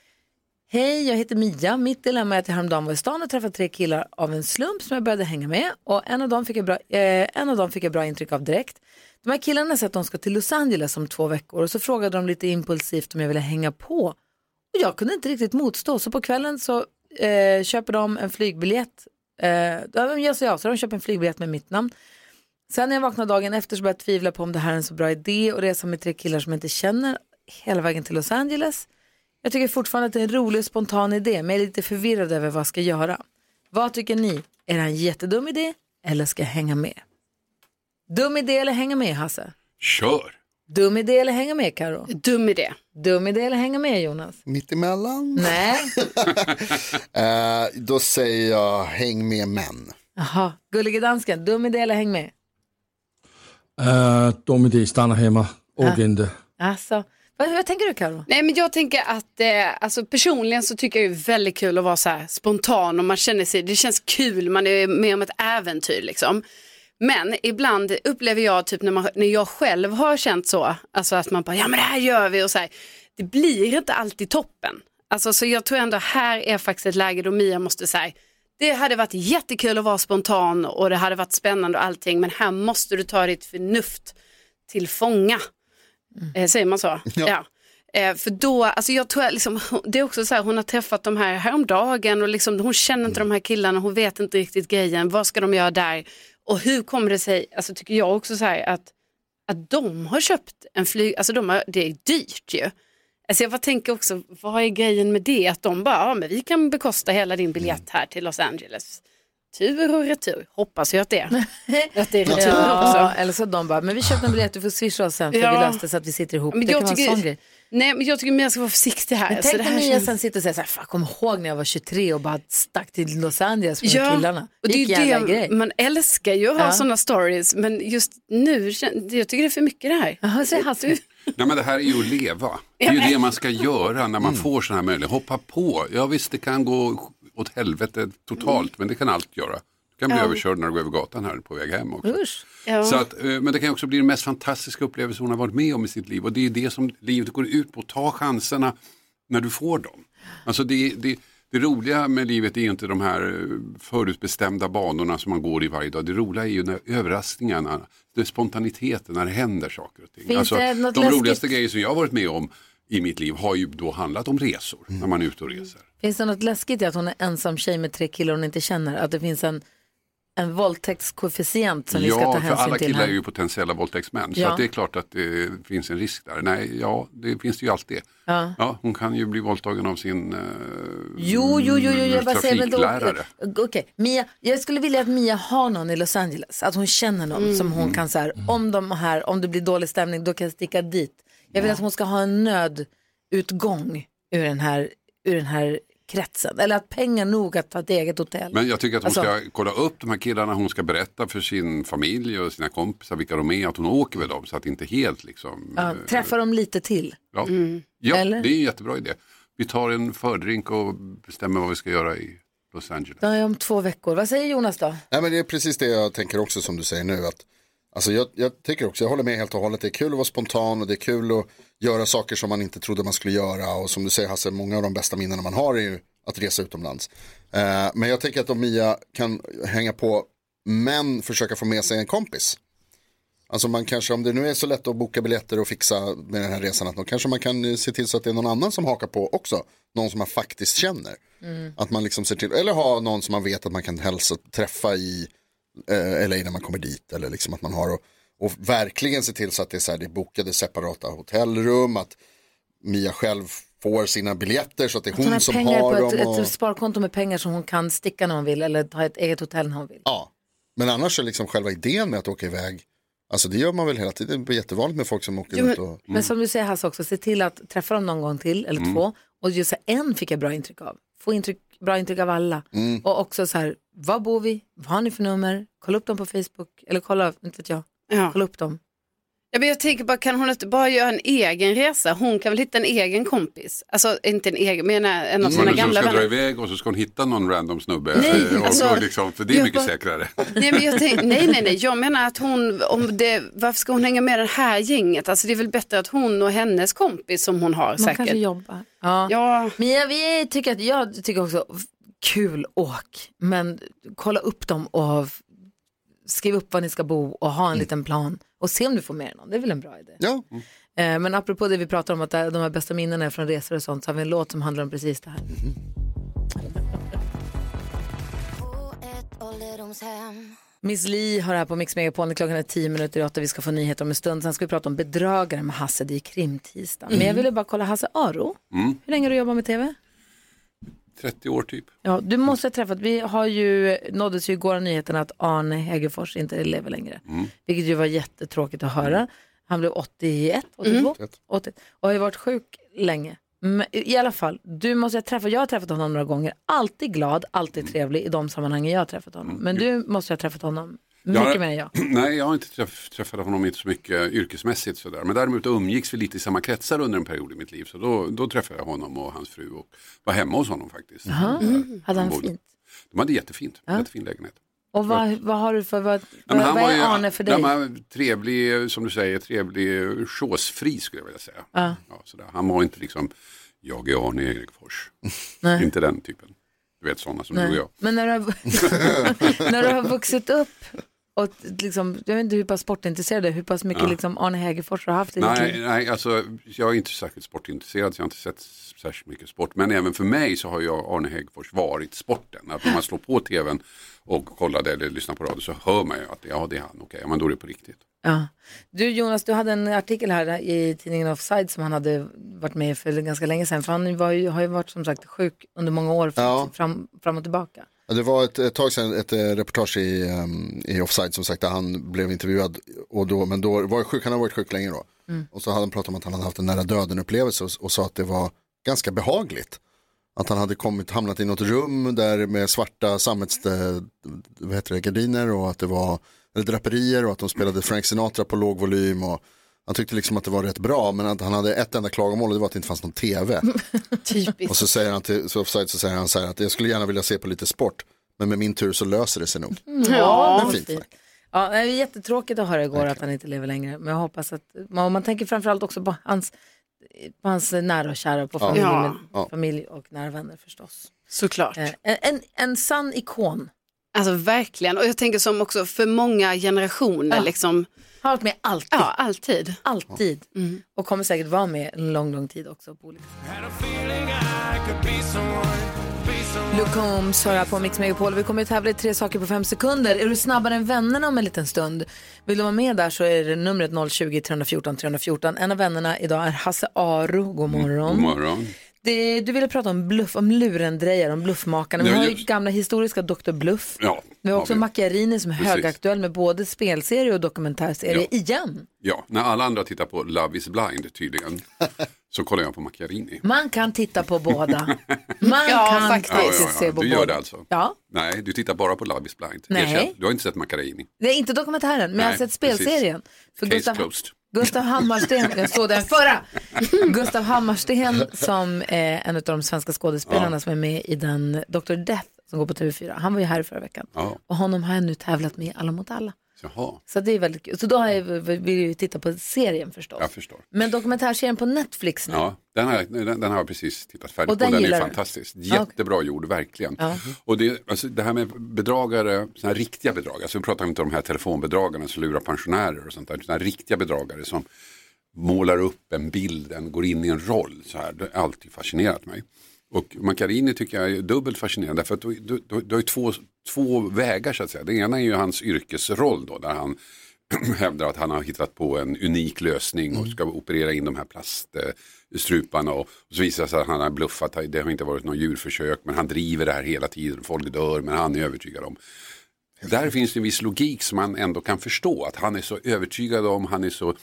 Hej, jag heter Mia. Mitt dilemma är att jag häromdagen var i stan och träffade tre killar av en slump som jag började hänga med. Och en av dem fick jag bra, eh, en av dem fick jag bra intryck av direkt. De här killarna sa att de ska till Los Angeles om två veckor och så frågade de lite impulsivt om jag ville hänga på. Och jag kunde inte riktigt motstå så på kvällen så eh, köper de en flygbiljett. Eh, ja, de gör sig av så de köper en flygbiljett med mitt namn. Sen när jag vaknade dagen efter så började jag tvivla på om det här är en så bra idé och resa med tre killar som jag inte känner hela vägen till Los Angeles. Jag tycker fortfarande att det är en rolig och spontan idé, men jag är lite förvirrad över vad jag ska göra. Vad tycker ni? Är det en jättedum idé eller ska jag hänga med? Dum idé eller hänga med, Hasse? Kör! Dum idé eller hänga med Karo? Dum idé. Dum idé eller hänga med Jonas? Mittemellan? Nej. Eh, då säger jag häng med män. Jaha, gullige dansken, dum idé eller häng med? Uh, dum idé, stanna hemma. Åk Ja. inte. Alltså, vad, vad tänker du Karo? Nej men jag tänker att eh, alltså, personligen så tycker jag det är väldigt kul att vara så här spontan och man känner sig, det känns kul, man är med om ett äventyr liksom. Men ibland upplever jag typ när, man, när jag själv har känt så, alltså att man bara ja men det här gör vi och så här, det blir inte alltid toppen. Alltså så jag tror ändå här är faktiskt ett läge då Mia måste säga det hade varit jättekul att vara spontan och det hade varit spännande och allting men här måste du ta ditt förnuft till fånga. Eh, säger man så? Ja. Eh, för då, alltså jag tror jag liksom, det är också så här, hon har träffat de här häromdagen och liksom, hon känner inte de här killarna, hon vet inte riktigt grejen, vad ska de göra där? Och hur kommer det sig, alltså tycker jag också så här att, att de har köpt en flyg, alltså de har, det är dyrt ju. Alltså jag bara tänker också, vad är grejen med det? Att de bara, ja men vi kan bekosta hela din biljett här till Los Angeles. Tur och retur, hoppas jag att det är. att det är retur också. eller så de bara, men vi köpte en biljett, du får swisha oss sen för Ja. vi löste så att vi sitter ihop. Men det jag kan vara en sån grej. tycker, nej, men jag tycker Mia ska vara försiktig här. Men Alltså, tänk det om här Mia känns- sen sitter och säger så här, "Fan, kom ihåg när jag var 23 och bara stack till Los Angeles för Ja, killarna. och det är Vilken ju jävla det grej. man älskar ju att ha Ja. sådana stories men just nu, kän- jag tycker det är för mycket det här. Jaha, säger Hasse. Nej, men det här är ju att leva. Det är ju det man ska göra när Mm. man får sådana här möjligheter. Hoppa på. Ja visst, det kan gå åt helvete Mm. totalt, men det kan allt göra. Du kan bli Ja. överkörd när du går över gatan här på väg hem också. Usch. Ja. Så att, eh, men det kan ju också bli den mest fantastiska upplevelse hon har varit med om i sitt liv. Och det är ju det som livet går ut på, ta chanserna när du får dem. Alltså det, det, det roliga med livet är ju inte de här eh, förutbestämda banorna som man går i varje dag. Det roliga är ju när överraskningarna, det spontaniteten, när det händer saker och ting. Finns alltså, det något de läskigt? roligaste grejer som jag har varit med om i mitt liv har ju då handlat om resor, när man är ute och reser. Finns det något läskigt i att hon är ensam tjej med tre killar hon inte känner? Att det finns en, en våldtäktskoefficient som vi ska ta Ja, för alla hänsyn till killar här? är ju potentiella våldtäktsmän. Så Ja. att det är klart att det finns en risk där. Nej, ja, det finns det ju alltid. Ja. Ja, hon kan ju bli våldtagen av sin eh, Jo, jo, jo, Mm, jo, jag bara säger men då. eh, trafiklärare. Okej, Mia, jag skulle vilja att Mia har någon i Los Angeles, att hon känner någon som Mm. hon kan så här, om de här, om det blir dålig stämning, då kan jag sticka dit. Jag vill att hon ska ha en nödutgång ur den här, ur den här kretsen, eller att pengar nog att ta ett eget hotell. Men jag tycker att hon Alltså- ska kolla upp de här killarna, hon ska berätta för sin familj och sina kompisar vilka de är, att hon åker med dem så att det inte helt liksom... Ja, Mm. eh, träffa dem lite till. ja, ja det är en jättebra idé. Vi tar en fördrink och bestämmer vad vi ska göra i Los Angeles. Då är jag om två veckor. Vad säger Jonas då? Nej, men det är precis det jag tänker också som du säger nu. Att, alltså jag, jag tänker också, jag håller med helt och hållet. Det är kul att vara spontan och det är kul att göra saker som man inte trodde man skulle göra. Och som du säger Hasse, många av de bästa minnena man har är ju att resa utomlands. Eh, men jag tänker att om Mia kan hänga på men försöka få med sig en kompis. Alltså man kanske, om det nu är så lätt att boka biljetter och fixa med den här resan, att då kanske man kan eh, se till så att det är någon annan som hakar på också. Någon som man faktiskt känner. Mm. Att man liksom ser till, eller ha någon som man vet att man kan hälsa, träffa i eh, LA när man kommer dit. Eller liksom att man har och, och verkligen se till så att det är, så här, det är bokade separata hotellrum, att Mia själv får sina biljetter så att det är Att hon hon har som pengar har på dem. ett, och... ett sparkonto med pengar som hon kan sticka när hon vill eller ta ett eget hotell när hon vill. Ja, men annars är liksom själva idén med att åka iväg, alltså det gör man väl hela tiden, det är jättevanligt med folk som åker Jo, men, runt och... men som du säger Hasse också, se till att träffa dem någon gång till eller två. Och just så här, en fick jag bra intryck av. Få intryck, bra intryck av alla. Och också så här, var bor vi? Vad har ni för nummer? Kolla upp dem på Facebook. Eller kolla, inte vet jag. Ja. Kolla upp dem. Ja, men jag tänker bara, kan hon inte bara göra en egen resa? Hon kan väl hitta en egen kompis? Alltså inte en egen, men en av sina Hon som ska gamla dra vänner. iväg och så ska hon hitta någon random snubbe. Nej, eh, och, alltså, och liksom, för det är jag mycket bara- säkrare. Nej, men jag tänk, nej, nej, nej, jag menar att hon, om det, varför ska hon hänga med det här gänget? Alltså det är väl bättre att hon och hennes kompis som hon har Man säkert. kanske jobbar. Ja. Ja. Mia, vi tycker att, jag tycker också, f- kul åk, men kolla upp dem och f- skriv upp var ni ska bo och ha en liten plan och se om du får med någon. Det är väl en bra idé. Ja, Eh, Men apropå det vi pratar om, att de här bästa minnena är från resor och sånt, så har vi en låt som handlar om precis det här. Miss Li har det här på Mix Megapol, klockan är tio minuter i åtta, vi ska få nyheter om en stund. Sen ska vi prata om bedragare med Hasse, det är krimtisdag. Men jag ville bara kolla, Hasse Aro, Mm. hur länge har du jobbat med tv? 30 år typ. Ja, du måste ha träffat, vi har ju, nåddes ju Mm. igår av nyheten att Arne Hegerfors inte lever längre. Vilket ju var jättetråkigt att höra. Han blev 81, 82, Mm. 81 och har ju varit sjuk länge. Men I alla fall, du måste jag träffa, jag har träffat honom några gånger, alltid glad, Mm. alltid trevlig i de sammanhangen jag har träffat honom. Men du måste jag ha träffat honom mycket har- mer än jag. Nej, jag har inte träff, träffat honom inte så mycket yrkesmässigt sådär. Men däremot umgicks vi lite i samma kretsar under en period i mitt liv. Så då, då träffade jag honom och hans fru och var hemma hos honom faktiskt. Eh, Jaha. Mm. Hade han bodde. fint? De hade jättefint, Ja. jättefin lägenhet. Och vad, vad har du för, vad, Ja, men vad, vad var är ju- Arne för nej, dig? men han var trevlig, som du säger, trevlig, chosefri skulle jag vilja säga. Ja. Ja, sådär. Han var inte liksom, jag är Arne Egerfors. Nej. inte den typen. Du vet sådana som du och Nej. jag. Men när du, har, när du har vuxit upp och liksom, jag vet inte hur pass sportintresserad du är, hur pass mycket Ja. liksom Arne Hägerfors har haft i ditt Nej, liv. nej alltså, jag är inte särskilt sportintresserad, så jag har inte sett särskilt mycket sport. Men även för mig så har jag Arne Häggfors varit sporten. Att när man slår på tvn och kollar det eller lyssnar på radio så hör man ju att ja, det är han, okej, ja, men då är det på riktigt. Ja. Du Jonas, du hade en artikel här i tidningen Offside som han hade varit med i för ganska länge sedan. För han var ju, har ju varit som sagt sjuk under många år, Ja. fram, fram och tillbaka. Ja, Det var ett, ett tag sedan ett eh, reportage i, ehm, i Offside som sagt där han blev intervjuad. Och då, men då var jag sjuk, han har varit sjuk länge då. Mm. Och så hade han pratat om att han hade haft en nära döden upplevelse och, och sa att det var ganska behagligt. Att han hade kommit, hamnat i något rum där med svarta sammets, eh, vad heter det, gardiner och att det var eller draperier och att de spelade Frank Sinatra på låg volym. Och han tyckte liksom att det var rätt bra men att han hade ett enda klagomål och det var att det inte fanns någon tv. Och så säger han till så offside så säger han så här att jag skulle gärna vilja se på lite sport. Men med min tur så löser det sig nog. Mm. Ja, Men vad fint. fint. Ja, det är jättetråkigt att höra igår att han inte lever längre. Men jag hoppas att, man, man tänker framförallt också på hans, på hans nära och kära, på Ja. familj, Ja. Ja. familj och nära vänner förstås. Såklart. Eh, En, en, en sann ikon. Alltså verkligen. Och jag tänker som också för många generationer. Ja. Liksom. Har varit med alltid. Ja, alltid. Alltid. Och kommer säkert vara med en lång, lång tid också på olika sätt. Luke Combs hör här på Mix Megapol. Vi kommer att tävla i tre saker på fem sekunder. Är du snabbare än vännerna om en liten stund? Vill du vara med där så är det numret 020-314 314. En av vännerna idag är Hasse Aro. God morgon. Mm, God morgon. Det, du ville prata om bluff, om lurendrejare, om bluffmakarna. Vi Ja, har ju just- gamla historiska Dr. Bluff. Ja, Vi har också Macchiarini som är Precis. högaktuell med både spelserie och dokumentärserie igen. ja, när alla andra tittar på Love is blind tydligen så kollar jag på Macchiarini. Man kan titta på båda. Man Ja, kan faktiskt. faktiskt se på Du båda. gör det alltså? Ja. Nej, du tittar bara på Love is blind. Nej. Erkänn, Du har inte sett Macchiarini. Det är inte dokumentären, men jag har Nej, sett spelserien. För Case Gustav, closed. Gustav Hammarsten, jag såg den förra, Gustav Hammarsten som är en av de svenska skådespelarna Ja. som är med i den Dr. Death som går på TV4. Han var ju här i förra veckan. Ja, Och honom har jag nu tävlat med i Alla mot alla. jaha, Så det är väldigt kul. Så då har jag, vill jag ju titta på serien förstås. jag förstår. Men dokumentärserien på Netflix nu. Ja, den har, jag- den, den har jag precis tittat färdigt Och på. den Den gillar är du? fantastisk. Ja, okej. Jättebra gjord, verkligen. Ja. Och det, alltså, det här med bedragare, sådana här riktiga bedragare, alltså, vi pratar inte om de här telefonbedragarna som lurar pensionärer och sånt där, sådana här riktiga bedragare som målar upp en bild, en, går in i en roll. Så här. Det har alltid fascinerat mig. Och Macarini tycker jag är dubbelt fascinerande för att du, du, du, du har ju två, två vägar så att säga. Det ena är ju hans yrkesroll då där han hävdar att han har hittat på en unik lösning och ska operera in de här plaststruparna och, och så visar det sig att han har bluffat, det har inte varit någon djurförsök men han driver det här hela tiden, folk dör men han är övertygad om. Där finns det en viss logik som man ändå kan förstå att han är så övertygad om, han är så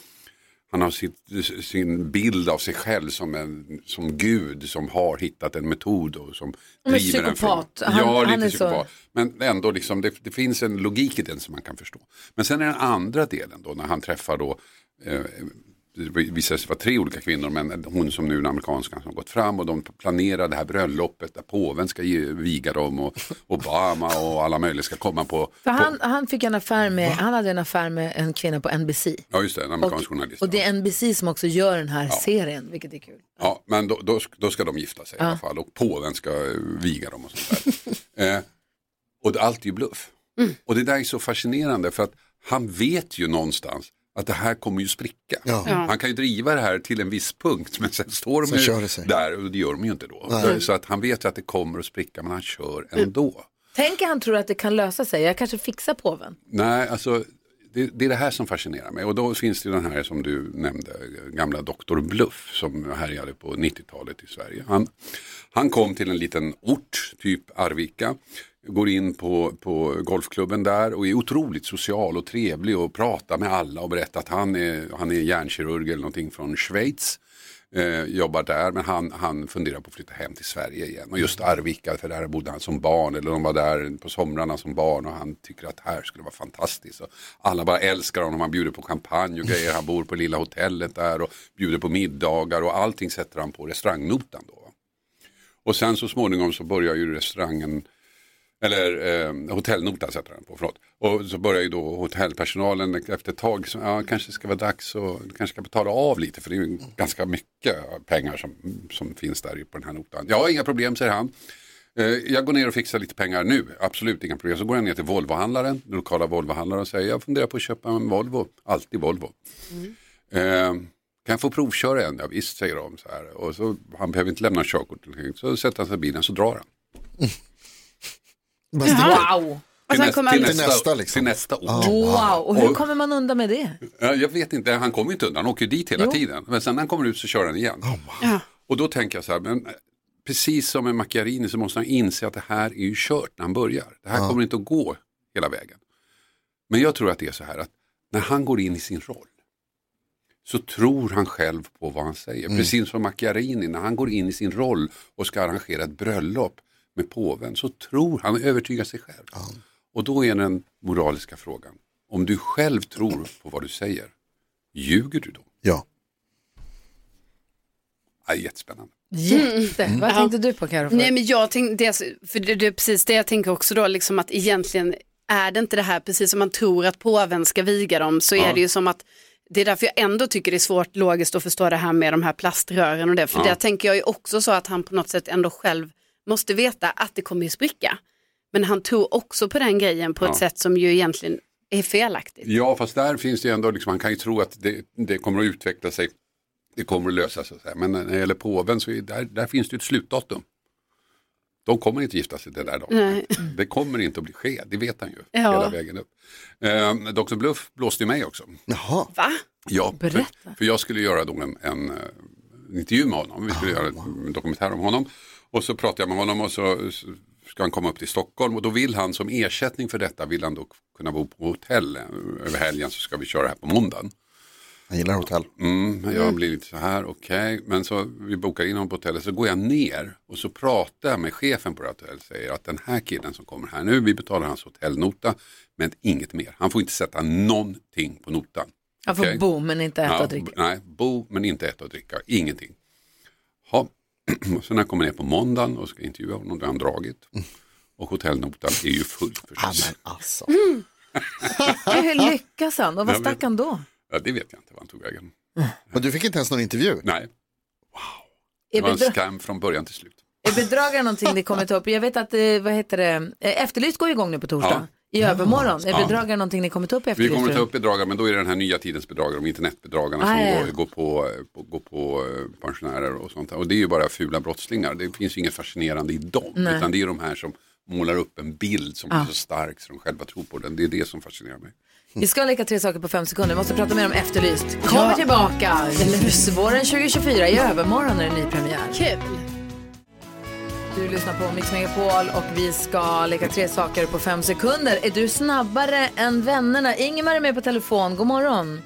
han har sitt, sin bild av sig själv som, en, som gud som har hittat en metod och som Men driver en från- psykopat. Han- ja, lite han är så- psykopat. Men ändå, liksom, det, det finns en logik i den som man kan förstå. Men sen är den andra delen då när han träffar då, eh, det visade sig vara tre olika kvinnor, men hon som nu är den amerikanskan som har gått fram och de planerar det här bröllopet där påven ska ge, viga dem och Obama och alla möjliga ska komma på. För han, han fick en affär med, han hade en affär med en kvinna på NBC. Ja, just det, en amerikansk journalist. Och det är NBC som också gör den här serien, vilket är kul. Ja, men då, då, sk- då ska de gifta sig Ja. i alla fall och påven ska eh, viga dem och sånt där. eh, och det- allt är ju bluff. Mm. Och det där är så fascinerande för att han vet ju någonstans att det här kommer ju spricka. Ja. Ja. Han kan ju driva det här till en viss punkt men sen står de Sen ju kör det sig. där och det gör de ju inte då. Nej. Så att han vet ju att det kommer att spricka men han kör ändå. Mm. Tänk att han tror att det kan lösa sig, jag kanske fixar påven. Nej, alltså det, det, det är det här som fascinerar mig. Och då finns det ju den här som du nämnde, gamla Dr. Bluff som härjade på 90-talet i Sverige. Han, han kom till en liten ort, typ Arvika, går in på, på golfklubben där och är otroligt social och trevlig och pratar med alla och berättar att han är, han är hjärnkirurg eller någonting från Schweiz. Eh, jobbar där men han, han funderar på att flytta hem till Sverige igen. Och just Arvika för där bodde han som barn eller de var där på somrarna som barn och han tycker att här skulle vara fantastiskt. Och alla bara älskar honom, han bjuder på champagne och grejer, han bor på lilla hotellet där och bjuder på middagar och allting sätter han på restaurangnotan. Då. va. Och sen så småningom så börjar ju restaurangen eller eh, hotellnotan sätter han på, förlåt. Och så börjar ju då hotellpersonalen efter ett tag, så, ja, kanske ska vara dags och kanske ska betala av lite för det är ju ganska mycket pengar som, som finns där på den här notan. Ja, inga problem säger han. Eh, jag går ner och fixar lite pengar nu, absolut inga problem. Så går jag ner till Volvohandlaren, den lokala Volvohandlaren och säger jag funderar på att köpa en Volvo, alltid Volvo. Eh, kan jag få provköra en? Ja, visst säger de så här. Och så, han behöver inte lämna körkortet. Så sätter han sig i bilen så drar han. Wow! Och sen näst- kommer till Alltså, han... nästa, liksom. Ah. till nästa år. Wow, och hur Och- Mm. kommer man undan med det? Ja, jag vet inte, han kommer ju inte undan, han åker ju dit hela Jo. tiden. Men sen när han kommer ut så kör han igen. Ja. Och då tänker jag så här, men eh, precis som med Macchiarini så måste han inse att det här är ju kört när han börjar. Det här kommer inte att gå hela vägen. Men jag tror att det är så här att när han går in i sin roll så tror han själv på vad han säger. Precis som Macchiarini, när han går in i sin roll och ska arrangera ett bröllop med påven så tror han, övertygar sig själv. Och då är den moraliska frågan, om du själv tror på vad du säger, ljuger du då? Ja. Ja, jättespännande. Jätte. Mm. Vad Ja. tänkte du på Carro? Nej, men jag tänkte, det, för det, det är precis det jag tänker också då, liksom att egentligen är det inte det här, precis som man tror att påven ska viga dem, så Ja. är det ju som att det är därför jag ändå tycker det är svårt logiskt att förstå det här med de här plaströren och det, för Ja. där tänker jag ju också så att han på något sätt ändå själv måste veta att det kommer ju spricka. Men han tror också på den grejen på Ja. ett sätt som ju egentligen är felaktigt. Ja, fast där finns det ju ändå, liksom, man kan ju tro att det, det kommer att utveckla sig, det kommer att lösa sig. så här. Men när det gäller påven så är, där, där finns det ju ett slutdatum. De kommer inte gifta sig den där dagen. Nej. Det kommer inte att bli ske, det vet han ju Ja. hela vägen upp. Eh, Dr. Bluff blåste ju mig också. Jaha. Va? Ja, för, för jag skulle göra då en, en, eh, en intervju med honom, vi skulle göra en dokumentär om honom. Och så pratade jag med honom och så så ska han komma upp till Stockholm och då vill han som ersättning för detta vill han då kunna bo på hotell eh, över helgen så ska vi köra här på måndagen. Han gillar hotell. Mm, men jag Mm. blir lite så här, okej, men så vi bokar in honom på hotellet så går jag ner och så pratar jag med chefen på det här hotellet säger att den här killen som kommer här nu, vi betalar hans hotellnota men inget mer. Han får inte sätta någonting på notan. Jag får Okej? bo men inte äta Ja, och dricka. b- Nej, bo men inte äta och dricka, ingenting. Ha. Och sen när jag kommer ner på måndagen och ska intervjua honom, då har han dragit. Och hotellnotan är ju full förstås. Mm. Hur lyckas han? Och vad Jag vet- stack han då? Ja, det vet jag inte vad han tog vägen. Men du fick inte ens någon intervju? Nej, det Är, var en bedra- skam från början till slut. är bedragare någonting ni kommer ta upp? Jag vet att, eh, vad heter det, eh, Efterlyst går igång nu på torsdag. I övermorgon. Är Ja. bedragare någonting ni kommer ta upp i Vi Efterlyst? kommer ta tror upp bedragare, men då är det den här nya tidens bedragare, de internetbedragarna som Ah, ja, ja. går, går, på, på, går på eh, pensionärer och sånt. där. Och det är ju bara fula brottslingar, det finns ju inget fascinerande i dem. Nej. Utan det är ju de här som målar upp en bild som Ja. är så stark så de själva tror på den. Det är det som fascinerar mig. Vi ska leka tre saker på fem sekunder. Vi måste prata mer om Efterlyst. Kommer Ja. tillbaka. Våren 2024. I övermorgon är det ny premiär. Kul. Du lyssnar på Mix Megapol och vi ska leka tre saker på fem sekunder. Är du snabbare än vännerna? Ingemar är med på telefon. God morgon.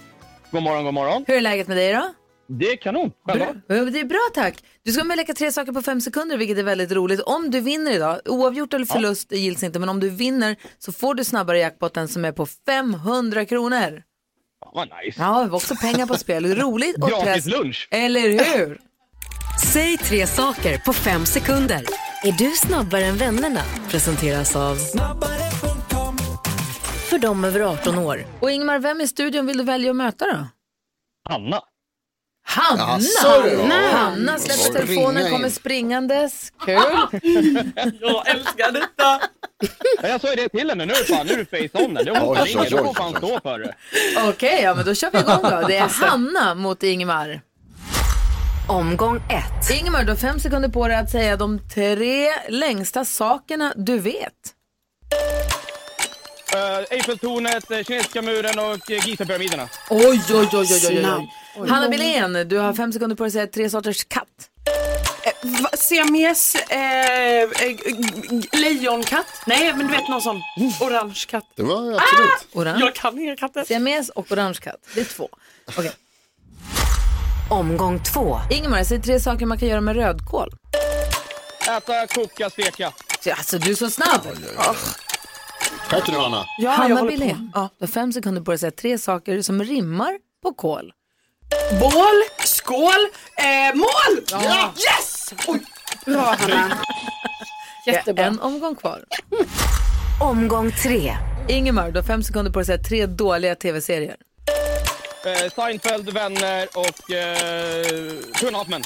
God morgon, god morgon. Hur är läget med dig då? Det är kanon. Bra. Ja, men Det är bra tack. Du ska med leka tre saker på fem sekunder vilket är väldigt roligt. Om du vinner idag, oavgjort eller förlust det gills inte, men om du vinner så får du snabbare jackpotten som är på 500 kronor. Vad nice. Ja, det var också pengar på spel. Roligt och Gratis press. lunch. Eller hur? Säg tre saker på fem sekunder. Är du snabbare än vännerna? Presenteras av... För dem över 18 år. Och Ingmar, vem i studion vill du välja att möta då? Hanna. Hanna! Jaså, du. Hanna, Ja. Hanna släpper Springa telefonen, in. kommer springandes. Kul! jag älskar detta. jag sa ju det till henne, nu är det fan, nu är du face on henne. Hon Oj, får oj, ringa, oj, du får oj, fan oj. stå för det. Okej, ja men då kör vi igång då. Det är Hanna mot Ingmar. Omgång ett. Ingmar, du har fem sekunder på dig att säga de tre längsta sakerna du vet. Eh, Eiffeltornet, eh, Kinesiska muren och eh, Gizapyramiderna. Oj, oj, oj, oj, oj, oj. Oj. Hanna Billén, du har fem sekunder på dig att säga tre sorters katt. Siames, eh, eh, g- g- lejonkatt. Nej, men du vet någon sån orange katt. Det var absolut. Orange. Jag kan inga katter. Siames och orange katt. Det är två. Okej. Omgång två. Ingemar, säg tre saker man kan göra med rödkål. Äta, koka, steka. Alltså, du är så snabb. Skärp dig nu Anna. Hanna Billén, du har fem sekunder på dig att säga tre saker som rimmar på kål. Bål, skål, eh, mål! Ja. Yes! Oj. Bra, Hanna. Jättebra. En omgång kvar. Omgång tre. Ingemar, du har fem sekunder på dig att säga tre dåliga tv-serier. Eh, Seinfeld, Vänner och eh, Two and a Half Men.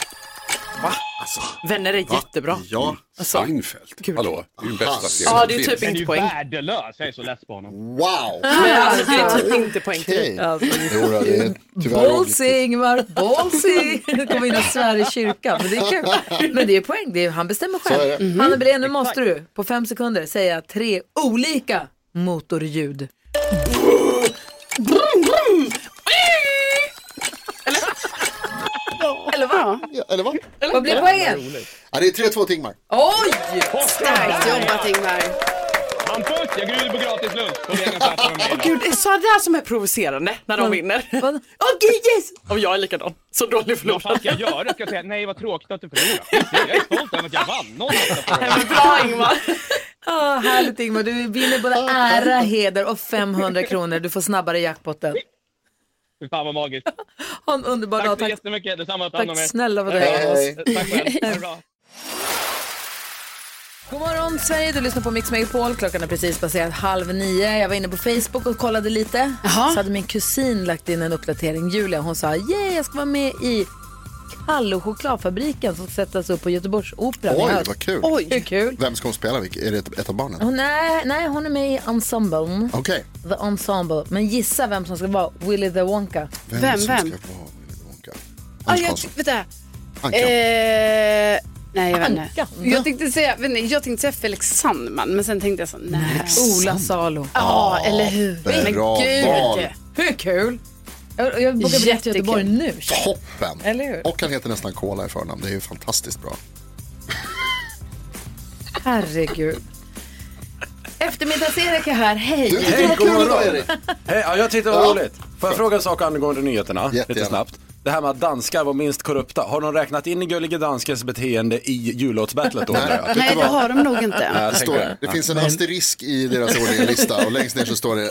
Va? Alltså, Vänner är jättebra. Ja, Seinfeld. Hallå, det är ju bästa Aha. serien Ja, som det är typ finns. inte poäng. Den är ju värdelös. Jag är så less på honom. Wow! Men alltså, det är typ inte poäng till. Okej. Jo, då, det är tyvärr roligt. Ballsy, Ingemar. Ballsy. Nu kommer in och svär i kyrkan. Men det är kul. Men det är poäng. Det är, han bestämmer Så är själv. det. Mm. Mhm. Hanna Billén, nu måste du på fem sekunder säga tre olika motorljud. Brum, brum. Eller vad? Ja, eller vad? Vad blir poängen? Ja, det är 3-2 till Ingmar. Oj! Starkt jobbat, Ingmar. Hampus, jag bjuder på gratis lunch på vägen tvärs över mig. Åh gud, det är sådär som är provocerande när de vinner. Okej, yes! Om jag är likadan, så dålig Vad fan förlorare. ska jag göra? Ska jag säga nej vad tråkigt att du förlorade? Jag är stolt över att jag vann. Någon Bra Ingmar! Oh, härligt Ingmar, du vinner både ära, heder och 500 kronor. Du får snabbare jackpotten. Fy fan vad magiskt. Ha en underbar Tack dag. så Tack, jättemycket. Detsamma. Ta hand om er. tack snälla för Hej, det. hej. Tack själv. Ha det bra. God morgon Sverige, du lyssnar på Mix Megapol. Klockan är precis passerat halv nio. Jag var inne på Facebook och kollade lite. Så hade min kusin lagt in en uppdatering, Julia. Hon sa, yeah, jag ska vara med i Kalle och chokladfabriken som ska sättas upp på Göteborgsoperan i Oj, höst. vad kul. Oj. Hur kul. Vem ska hon spela? Vilk- Är det ett- ett av barnen? Hon är, nej, hon är med i ensemblen. Okej. The Ensemble. Men gissa vem som ska vara Willy the Wonka. Vem, som vem? ska vara Willy Wonka? Ah, Hans jag, Karlsson. vänta. Anka. Eh, nej, jag vet inte. Anka. Jag tänkte, säga, vet ni, jag tänkte säga Felix Sandman, men sen tänkte jag så, nej. Oh, Ola Salo. Ja, eller hur? bra men val. Hur kul? Jag, jag bokar biljett Jättekul. till Göteborg nu. Toppen! Eller hur? Och han heter nästan Cola i förnamn. Det är ju fantastiskt bra. Herregud. Eftermiddags-Erik är här. Hej! Hej, ja, jag tyckte det var roligt. Får jag fråga en sak angående nyheterna? Lite snabbt. Det här med att danskar var minst korrupta. Har de räknat in Gullige Danskens beteende i jullåtsbattlet då? undrar jag? Nej, det har de Nej, nog jag inte. Det, tänker står, det finns en asterisk i deras årliga lista och längst ner så står det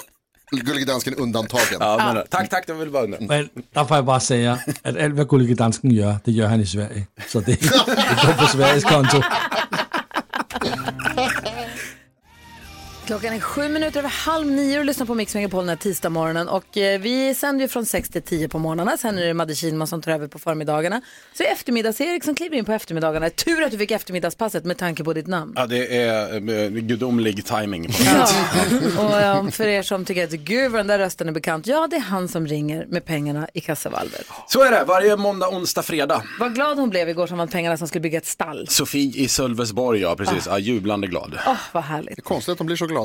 Gullige dansken undantagen. Ja, men, tack, tack, det vill bara undra. Men der får jeg bare sige, at alt hvad Gullige Dansken gør, det gør han i Sverige. Så det, det går på Sveriges konto. Klockan är sju minuter över halv nio och lyssnar på Mix Megapol den här tisdagsmorgonen. Och eh, vi sänder ju från sex till tio på morgnarna. Sen är det Madde Kihlman som tar över på förmiddagarna. Så är eftermiddags-Erik som kliver in på eftermiddagarna. Tur att du fick eftermiddagspasset med tanke på ditt namn. Ja, det är eh, gudomlig timing. Och eh, för er som tycker att gud vad den där rösten är bekant. Ja, det är han som ringer med pengarna i kassavalvet. Så är det, varje måndag, onsdag, fredag. Vad glad hon blev igår som vann pengarna som skulle bygga ett stall. Sofie i Sölvesborg, ja precis. Ah. Ja, jublande glad. Åh, vad härligt. Konstigt att de blir så glada.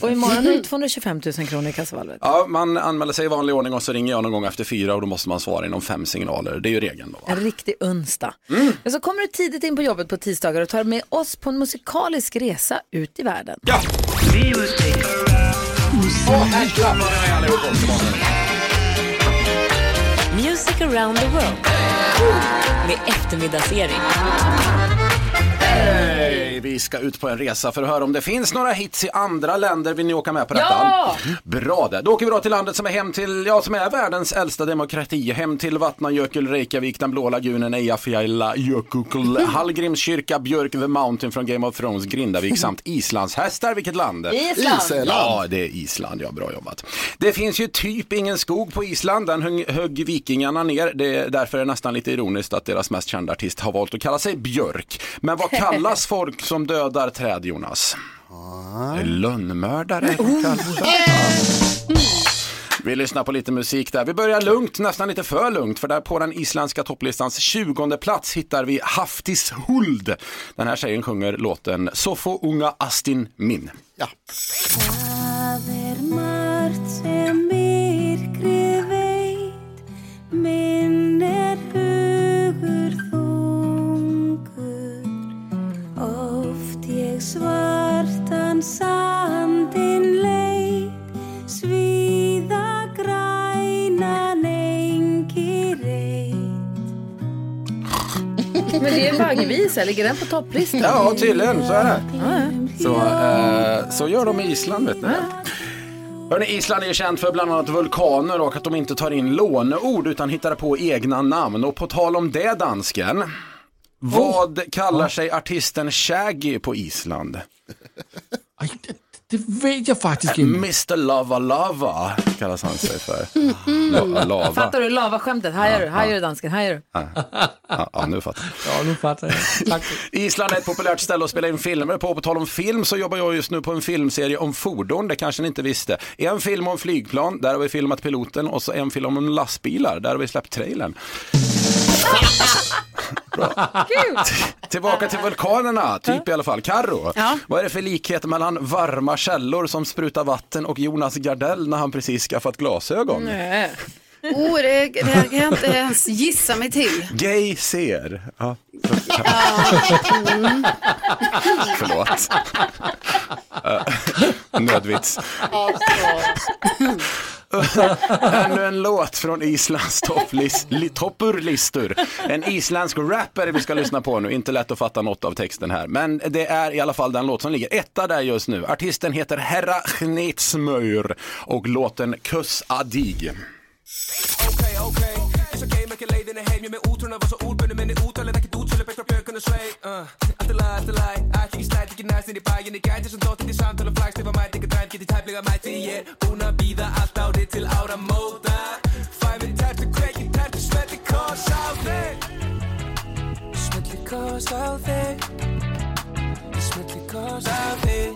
Och imorgon är det 225 000 kronor i kassavalvet. Ja, man anmäler sig i vanlig ordning och så ringer jag någon gång efter fyra och då måste man svara inom fem signaler. Det är ju regeln då. En riktig onsdag. Mm. Men så kommer du tidigt in på jobbet på tisdagar och tar med oss på en musikalisk resa ut i världen. Ja! Music around the world. Med eftermiddagsserie. Hej! Vi ska ut på en resa för att höra om det finns några hits i andra länder. Vill ni åka med på detta? Ja! Bra det. Då åker vi då till landet som är hem till, ja som är världens äldsta demokrati. Hem till Vatnajökull, Reykjavik, den blå lagunen, Eyjafjalla, Jökull, Hallgrims kyrka, Björk, The Mountain från Game of Thrones, Grindavik samt Islands hästar. Vilket land? Island. Island. Ja, det är Island. Ja, bra jobbat. Det finns ju typ ingen skog på Island. Den högg, högg vikingarna ner. Det är, därför är det nästan lite ironiskt att deras mest kända artist har valt att kalla sig Björk. Men vad kallas folk som dödar träd, Ah. Oh, Jonas? Lönnmördare. kallas det. Vi lyssnar på lite musik där. Vi börjar lugnt, nästan lite för lugnt, för där på den isländska topplistans 20 plats hittar vi Haftis Huld. Den här tjejen sjunger låten Så få unga Astin min. Ja. Það er margt sem myrkrið veit, minn er hugur þungur. Oft ég svartan sandin leit, svíða grænan engi reit. Men det är en vaggvisa, ligger den på topplistan? Ja, tydligen, så är det. Ja, ja. Så, eh, så gör de i Island vet ni. Hörrni, Island är ju känt för bland annat vulkaner och att de inte tar in låneord utan hittar på egna namn. Och på tal om det dansken, vad kallar sig artisten Shaggy på Island? det, vet jag faktiskt inte. Mr Lava Lava kallas han sig för. Mhm. La- lava. Fattar du lavaskämtet? Här är du, här ja. är du dansken, här är du. Ja, ja, ja, nu fattar jag. Ja, nu fattar jag. Island är ett populärt ställe att spela in filmer på. På tal om film så jobbar jag just nu på en filmserie om fordon, det kanske ni inte visste. En film om flygplan, där har vi filmat piloten och så en film om lastbilar, där har vi släppt trailern. Bra. Tillbaka till vulkanerna, typ i alla fall. Karro, vad är det för likhet mellan varma källor som sprutar vatten och Jonas Gardell när han precis skaffat glasögon? Nej. Oh, det, det kan jag inte ens gissa mig till. Gay ser. Ja. Mm. Förlåt. Eh, Nödvits. Ännu en låt från Islands topplist- li- toppurlistor. En isländsk rappare vi ska lyssna på nu. Inte lätt att fatta något av texten här. Men det är i alla fall den låt som ligger etta där just nu. Artisten heter Herra Schneitzmöyr och låten Kuss Adig. eins og geim ekki leiðinni heim Ég með útrunna var svo úrbunni minni útalinn ekkert útsölu beitt frá björkunni svei uh, Allt er læg, allt er læg, allt ekki slætt, ekki næst inn í bæinn Ég gæti sem dóttinn í samtala flagstif að mæta ykkur dræm Geti tæplega mætt því ég er búinn að býða allt árið til áramóta Fæ mér tertu, kveiki tertu, smelli kors á þig Smelli kors á þig Smelli kors á þig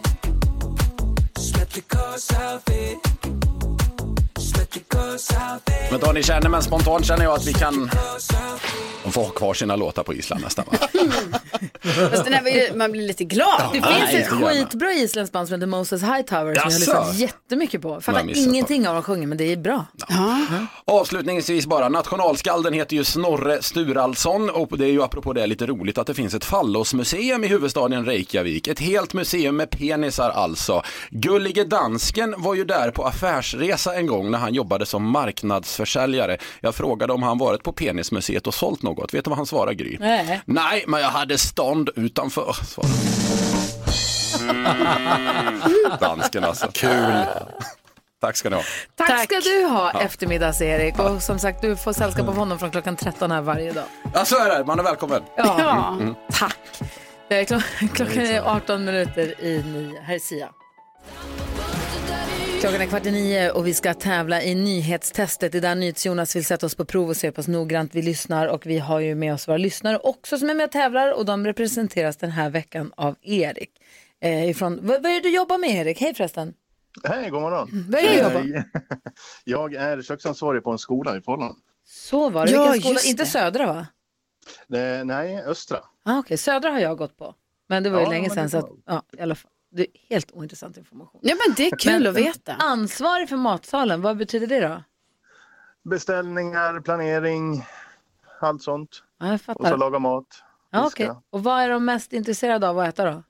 Smelli kors á þig Smelli kors á þig Men då ni känner, men spontant känner jag att vi kan... De får ha kvar sina låtar på Island nästan va? Fast den här var ju, man blir lite glad. Det nej, finns ett jättegärna. skitbra isländskt band som heter Moses Hightower som jag har Jaså? lyssnat jättemycket på. har jag Fattar missat ingenting av vad de sjunger men det är bra. Avslutningsvis bara, nationalskalden heter ju Snorre Sturalsson och det är ju apropå det lite roligt att det finns ett fallosmuseum i huvudstaden Reykjavik. Ett helt museum med penisar alltså. Gullige dansken var ju där på affärsresa en gång när han jobbade som marknadsförsäljare. Jag frågade om han varit på penismuseet och sålt något. Vet du vad han svarade Gry? Nej. Nej, men jag hade stånd utanför, svarade han. Dansken alltså. Kul. Tack ska ni ha. Tack, ska du ha Ja. eftermiddags-Erik och som sagt du får sällskap av honom från klockan 13 här varje dag. Ja, så är det. Man är välkommen. Ja. Mm, mm. Tack. Det är klo- Klockan är 18 minuter i nio. Här är Sia. Klockan är kvart i nio och vi ska tävla i nyhetstestet. Det är där NyhetsJonas vill sätta oss på prov och se hur pass noggrant vi lyssnar. Och vi har ju med oss våra lyssnare också som är med och tävlar och de representeras den här veckan av Erik. Eh, ifrån, vad, vad är det du jobbar med Erik? Hej förresten. Hej, god morgon. Vad är det du jobbar? Eh, Jag är köksansvarig på en skola i Falun. Så var det. Ja, Vilken skola? just Inte det. Södra va? Eh, Nej, Östra. Ah, Okej, Södra har jag gått på. Men det var ju Ja, länge men sedan det så att, var- ja, i alla fall, det är helt ointressant information. Ja, men det är kul Men att veta. Ansvarig för matsalen, vad betyder det då? Beställningar, planering, allt sånt. Ja, jag Och så fattar. laga mat. Ja, diska. okej. Och vad är de mest intresserade av att äta då?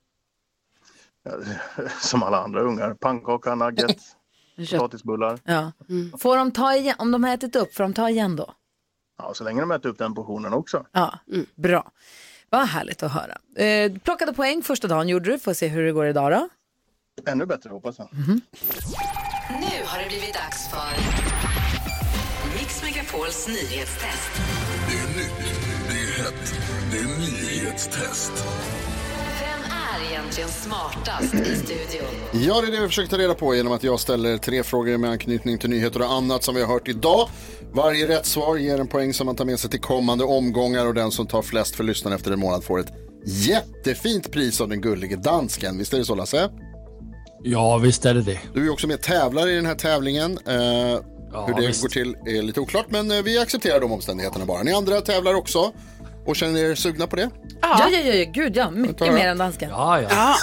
Som alla andra ungar. Pannkaka, nuggets, potatisbullar. Ja. Mm. Får de ta igen, om de har ätit upp, får de ta igen då? Ja, så länge de äter upp den portionen också. Ja, Mm. bra. Vad härligt att höra. Eh, du plockade poäng första dagen gjorde du, får se hur det går idag då. Ännu bättre hoppas jag. Nu har det blivit dags för Mix Megapols nyhetstest. Det är nytt, det är hett, det är nyhetstest. Vem är egentligen smartast i studion? Ja, det är det vi försökte ta reda på genom att jag ställer tre frågor med anknytning till nyheter och annat som vi har hört idag. Varje rätt svar ger en poäng som man tar med sig till kommande omgångar och den som tar flest för lyssnaren efter en månad får ett jättefint pris av den gullige dansken. Visst är det så Lasse? Ja, visst är det det. Du är ju också med tävlare i den här tävlingen. Eh, Ja, Hur det visst. går till är lite oklart, men eh, vi accepterar de omständigheterna bara. Ni andra tävlar också och känner er sugna på det? Ja, ja, ja, ja gud ja, mycket mer än dansken. ja.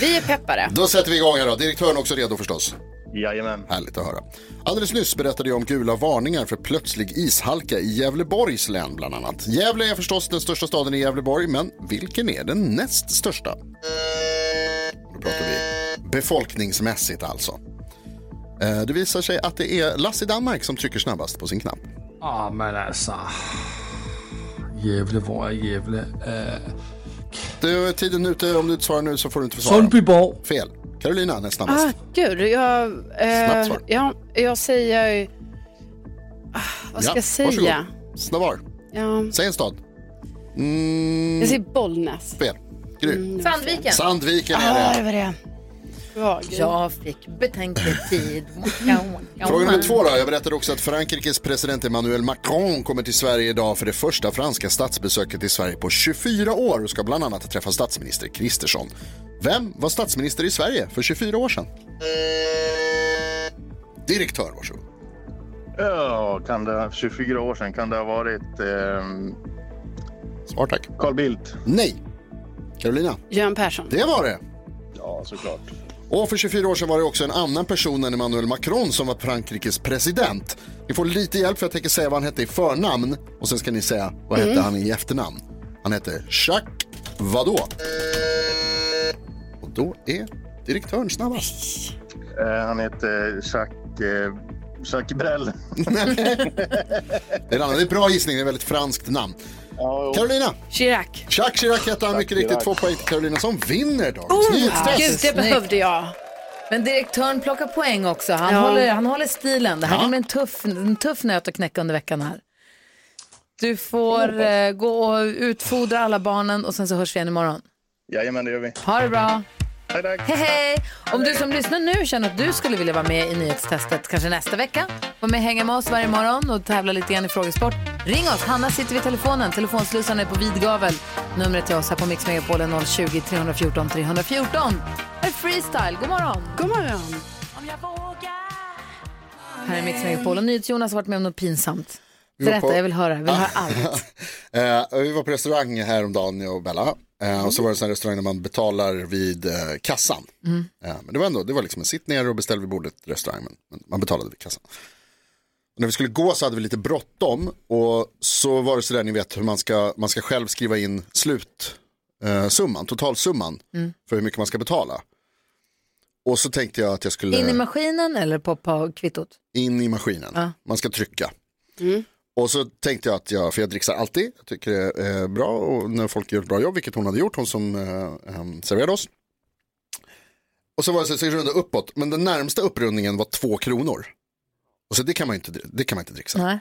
Vi är peppare. Då sätter vi igång här då. Direktören också redo förstås? Jajamän. Härligt att höra. Alldeles nyss berättade jag om gula varningar för plötslig ishalka i Gävleborgs län bland annat. Gävle är förstås den största staden i Gävleborg, men vilken är den näst största? Då pratar vi befolkningsmässigt alltså. Eh, Det visar sig att det är Lasse i Danmark som trycker snabbast på sin knapp. Ah, men alltså. Gävle, var är Gävle? Eh, Du, tiden är ute, om du inte svarar nu så får du inte försvara. Sundbyborg. Fel. Carolina näst snabbast. Ah, gud, jag, Snabbt eh, svar. ja, jag säger... Ah, vad ska Ja, jag säga? varsågod. Snabbar. Ja, Säg en stad. Mm, jag säger Bollnäs. fel. Mm, Mm. Gry. Sandviken. Ah, Sandviken är Ja, det. det var det. Bra, Gry. Jag fick betänketid. Ja, ja, Fråga nummer men- två då. Jag berättade också att Frankrikes president Emmanuel Macron kommer till Sverige idag för det första franska statsbesöket i Sverige på 24 år och ska bland annat träffa statsminister Kristersson. Vem var statsminister i Sverige för 24 år sedan? Direktör, varsågod. Ja, kan det, 24 år sedan kan det ha varit... ehm, Svar tack. Carl Bildt. Nej. Carolina? Göran Persson. Det var det. Ja, såklart. Och för 24 år sedan var det också en annan person än Emmanuel Macron som var Frankrikes president. Ni får lite hjälp för jag tänker säga vad han hette i förnamn och sen ska ni säga vad Mm. hette han i efternamn. Han hette Jacques vadå? Och då är direktören snabbast. Eh, han heter Jacques, eh, Jacques Brel. Det är, en annan, det är en bra gissning, det är ett väldigt franskt namn. Carolina! Chirac. Jacques Chirac hette han Jacques mycket riktigt. Chirac. Två poäng till Carolina som vinner dagens Oh, nyhetstest. gud, det behövde jag. Men direktören plockar poäng också. Han, Ja. håller, han håller stilen. Det här Ja. kommer bli en tuff, en tuff nöt att knäcka under veckan här. Du får eh, gå och utfodra alla barnen och sen så hörs vi igen imorgon. Jajamän, det gör vi. Ha det bra. Hej, hej, hej. Om du som lyssnar nu känner att du skulle vilja vara med i nyhetstestet kanske nästa vecka. Var med och hänga med oss varje morgon och tävla lite grann i frågesport. Ring oss. Hanna sitter vid telefonen. Telefonslussarna är på vid gavel. Numret till oss här på Mix Megapol är 020 314 314. Här är freestyle. God morgon. God morgon. Här är Mix Megapol och NyhetsJonas har varit med om något pinsamt. Vi var på- Berätta, jag vill höra. Jag vill höra allt. Eh, vi var på restaurang häromdagen, jag och Bella. Eh, och så var det en sån här restaurang där man betalar vid eh, kassan. Mm. Eh, men det var ändå, det var liksom en sitt ner och beställ vid bordet restaurang. Men, men man betalade vid kassan. Och när vi skulle gå så hade vi lite bråttom. Och så var det sådär, ni vet hur man ska, man ska själv skriva in slutsumman, totalsumman. Mm. För hur mycket man ska betala. Och så tänkte jag att jag skulle In i maskinen eller på, på kvittot? in i maskinen. Man ska trycka. Mm. Och så tänkte jag att jag, för jag dricksar alltid, jag tycker det är eh, bra och när folk gör ett bra jobb, vilket hon hade gjort, hon som eh, em, serverade oss. Och så var det så att jag runda uppåt, men den närmsta upprundningen var två kronor. Och så det kan man ju inte, det kan man inte dricksa. Nej.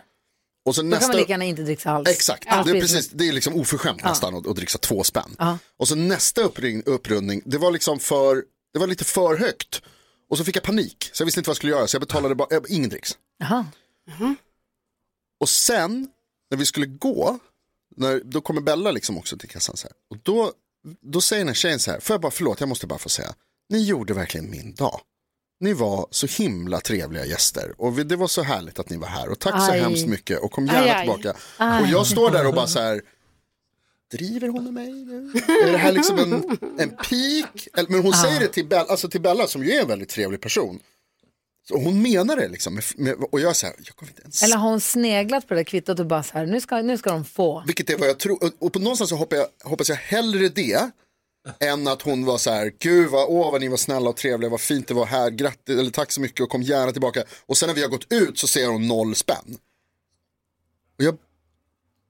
Och så Då nästa, kan man lika gärna inte dricksa alls. Exakt, Allt det, är blir- precis, det är liksom oförskämt Ja. nästan att, att dricksa två spänn. Ja. Och så nästa uppring, upprundning, det var liksom för, det var lite för högt. Och så fick jag panik, så jag visste inte vad jag skulle göra, så jag betalade bara, jag, ingen dricks. Jaha. Och sen när vi skulle gå, när, då kommer Bella liksom också till kassan så här. Och då, då säger den här tjejen så här, får jag bara, förlåt, jag måste bara få säga, ni gjorde verkligen min dag. Ni var så himla trevliga gäster och vi, det var så härligt att ni var här och tack så Aj. hemskt mycket och kom gärna Aj, aj. tillbaka. Aj. Och jag står där och bara så här, driver hon med mig nu? Är det här liksom en, en pik? Eller- Men hon Ja. säger det till Bella, alltså till Bella som ju är en väldigt trevlig person. Så hon menar det liksom, med, med, och jag är så här, jag kommer inte ens Eller har hon sneglat på det där kvittot och bara så här, nu ska, nu ska de få. Vilket är vad jag tror. Och- Och på någonstans så hoppas jag, hoppas jag hellre det. Än att hon var så här, gud vad, åh vad ni var snälla och trevliga, vad fint det var här, grattis, eller tack så mycket och kom gärna tillbaka. Och sen när vi har gått ut så ser hon noll spänn. Och jag,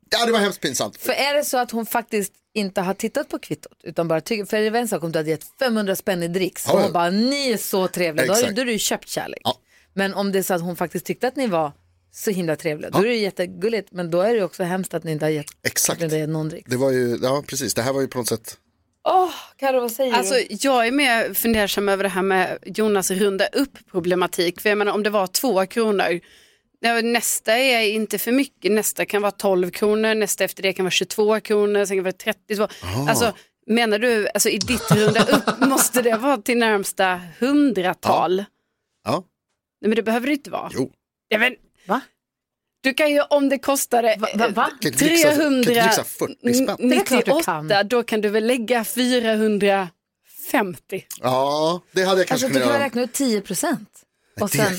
ja det var hemskt pinsamt. För är det så att hon faktiskt inte har tittat på kvittot utan bara tycker, för det var en sak om du hade gett 500 spänn i dricks Ja, och ja. hon bara ni är så trevliga, då har du- Exakt. då har du ju köpt kärlek. Ja. Men om det är så att hon faktiskt tyckte att ni var så himla trevliga, då Ja. är det ju jättegulligt men då är det ju också hemskt att ni inte har gett, Exakt. Att ni inte har gett någon dricks. Det var ju, ja precis, det här var ju på något sätt, Åh, Karo, vad säger Alltså, du? jag är mer fundersam över det här med Jonas runda upp problematik. För jag menar om det var två kronor, ja, nästa är inte för mycket, nästa kan vara 12 kronor, nästa efter det kan vara 22 kronor, sen kan det vara 32. Ah. Alltså, menar du, alltså, i ditt runda upp måste det vara till närmsta hundratal? ja. Nej, men det behöver det inte vara. Jo. Ja, men, va? Du kan ju om det kostade va, va, Kan inte dricksa- kan inte dricksa 40 spänn. Mm. Det är klart du 398, då kan du väl lägga 450. Ja, det hade jag Alltså kanske du kunnat kan göra. räkna ut 10 procent. Och Det är sen,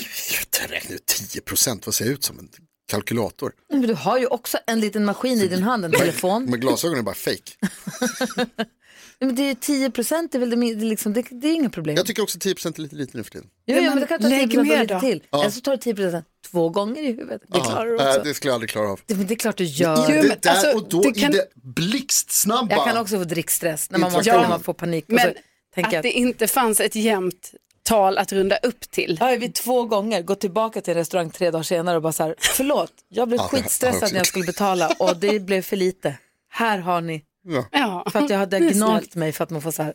ju- räkna ut 10 procent, vad ser jag ut som? En kalkylator. men du har ju också en liten maskin i din hand, en telefon. Men glasögonen är bara fake. Nej, Men det är ju 10 procent, det är väl det, min- det, är liksom, det, det är inga problem. Jag tycker också 10 procent är lite lite nu för tiden. Jo, ja, men det kan ta 10 lägg mer procent då. lite till. Ja. Eller så tar du 10 procent två gånger i huvudet. Det Ja, klarar du nej, också. Det skulle jag aldrig klara av. Det, men det är klart du gör. I det där och då i det blixtsnabba. alltså, Jag kan också få drickstress när man, måste, Interaktion. när man får panik. och Men så tänker jag att det inte fanns ett jämnt tal att runda upp till. Ja, vi två gånger gått tillbaka till en restaurang tre dagar senare och bara så här, förlåt, jag blev Ja, det har- har jag skitstressad också när jag gjort. skulle betala och det blev för lite. Här har ni. Ja. För att jag hade Det är gnagt snällt. mig för att man får så här,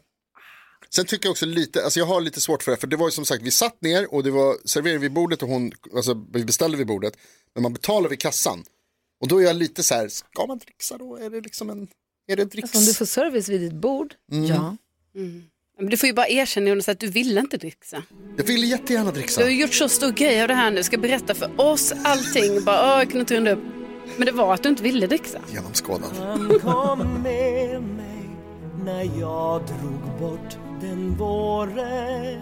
Sen tycker jag också lite, alltså jag har lite svårt för det, här, för det var ju som sagt, vi satt ner och det var servering vid bordet och hon, alltså vi beställde vid bordet, men man betalar vid kassan. Och då är jag lite så här, ska man dricksa då? Är det liksom en, är det dricks? alltså, om du får service vid ditt bord, Mm. ja. Mm. Men du får ju bara erkänna Jonas att du ville inte dricksa. Jag vill jättegärna dricksa. Du har ju gjort så stor grej av det här nu, ska berätta för oss allting. Bara, "Åh, jag kunde inte runda upp. Men det var att du inte ville dricksa. Genomskådad. Han kom med mig när jag drog bort den våren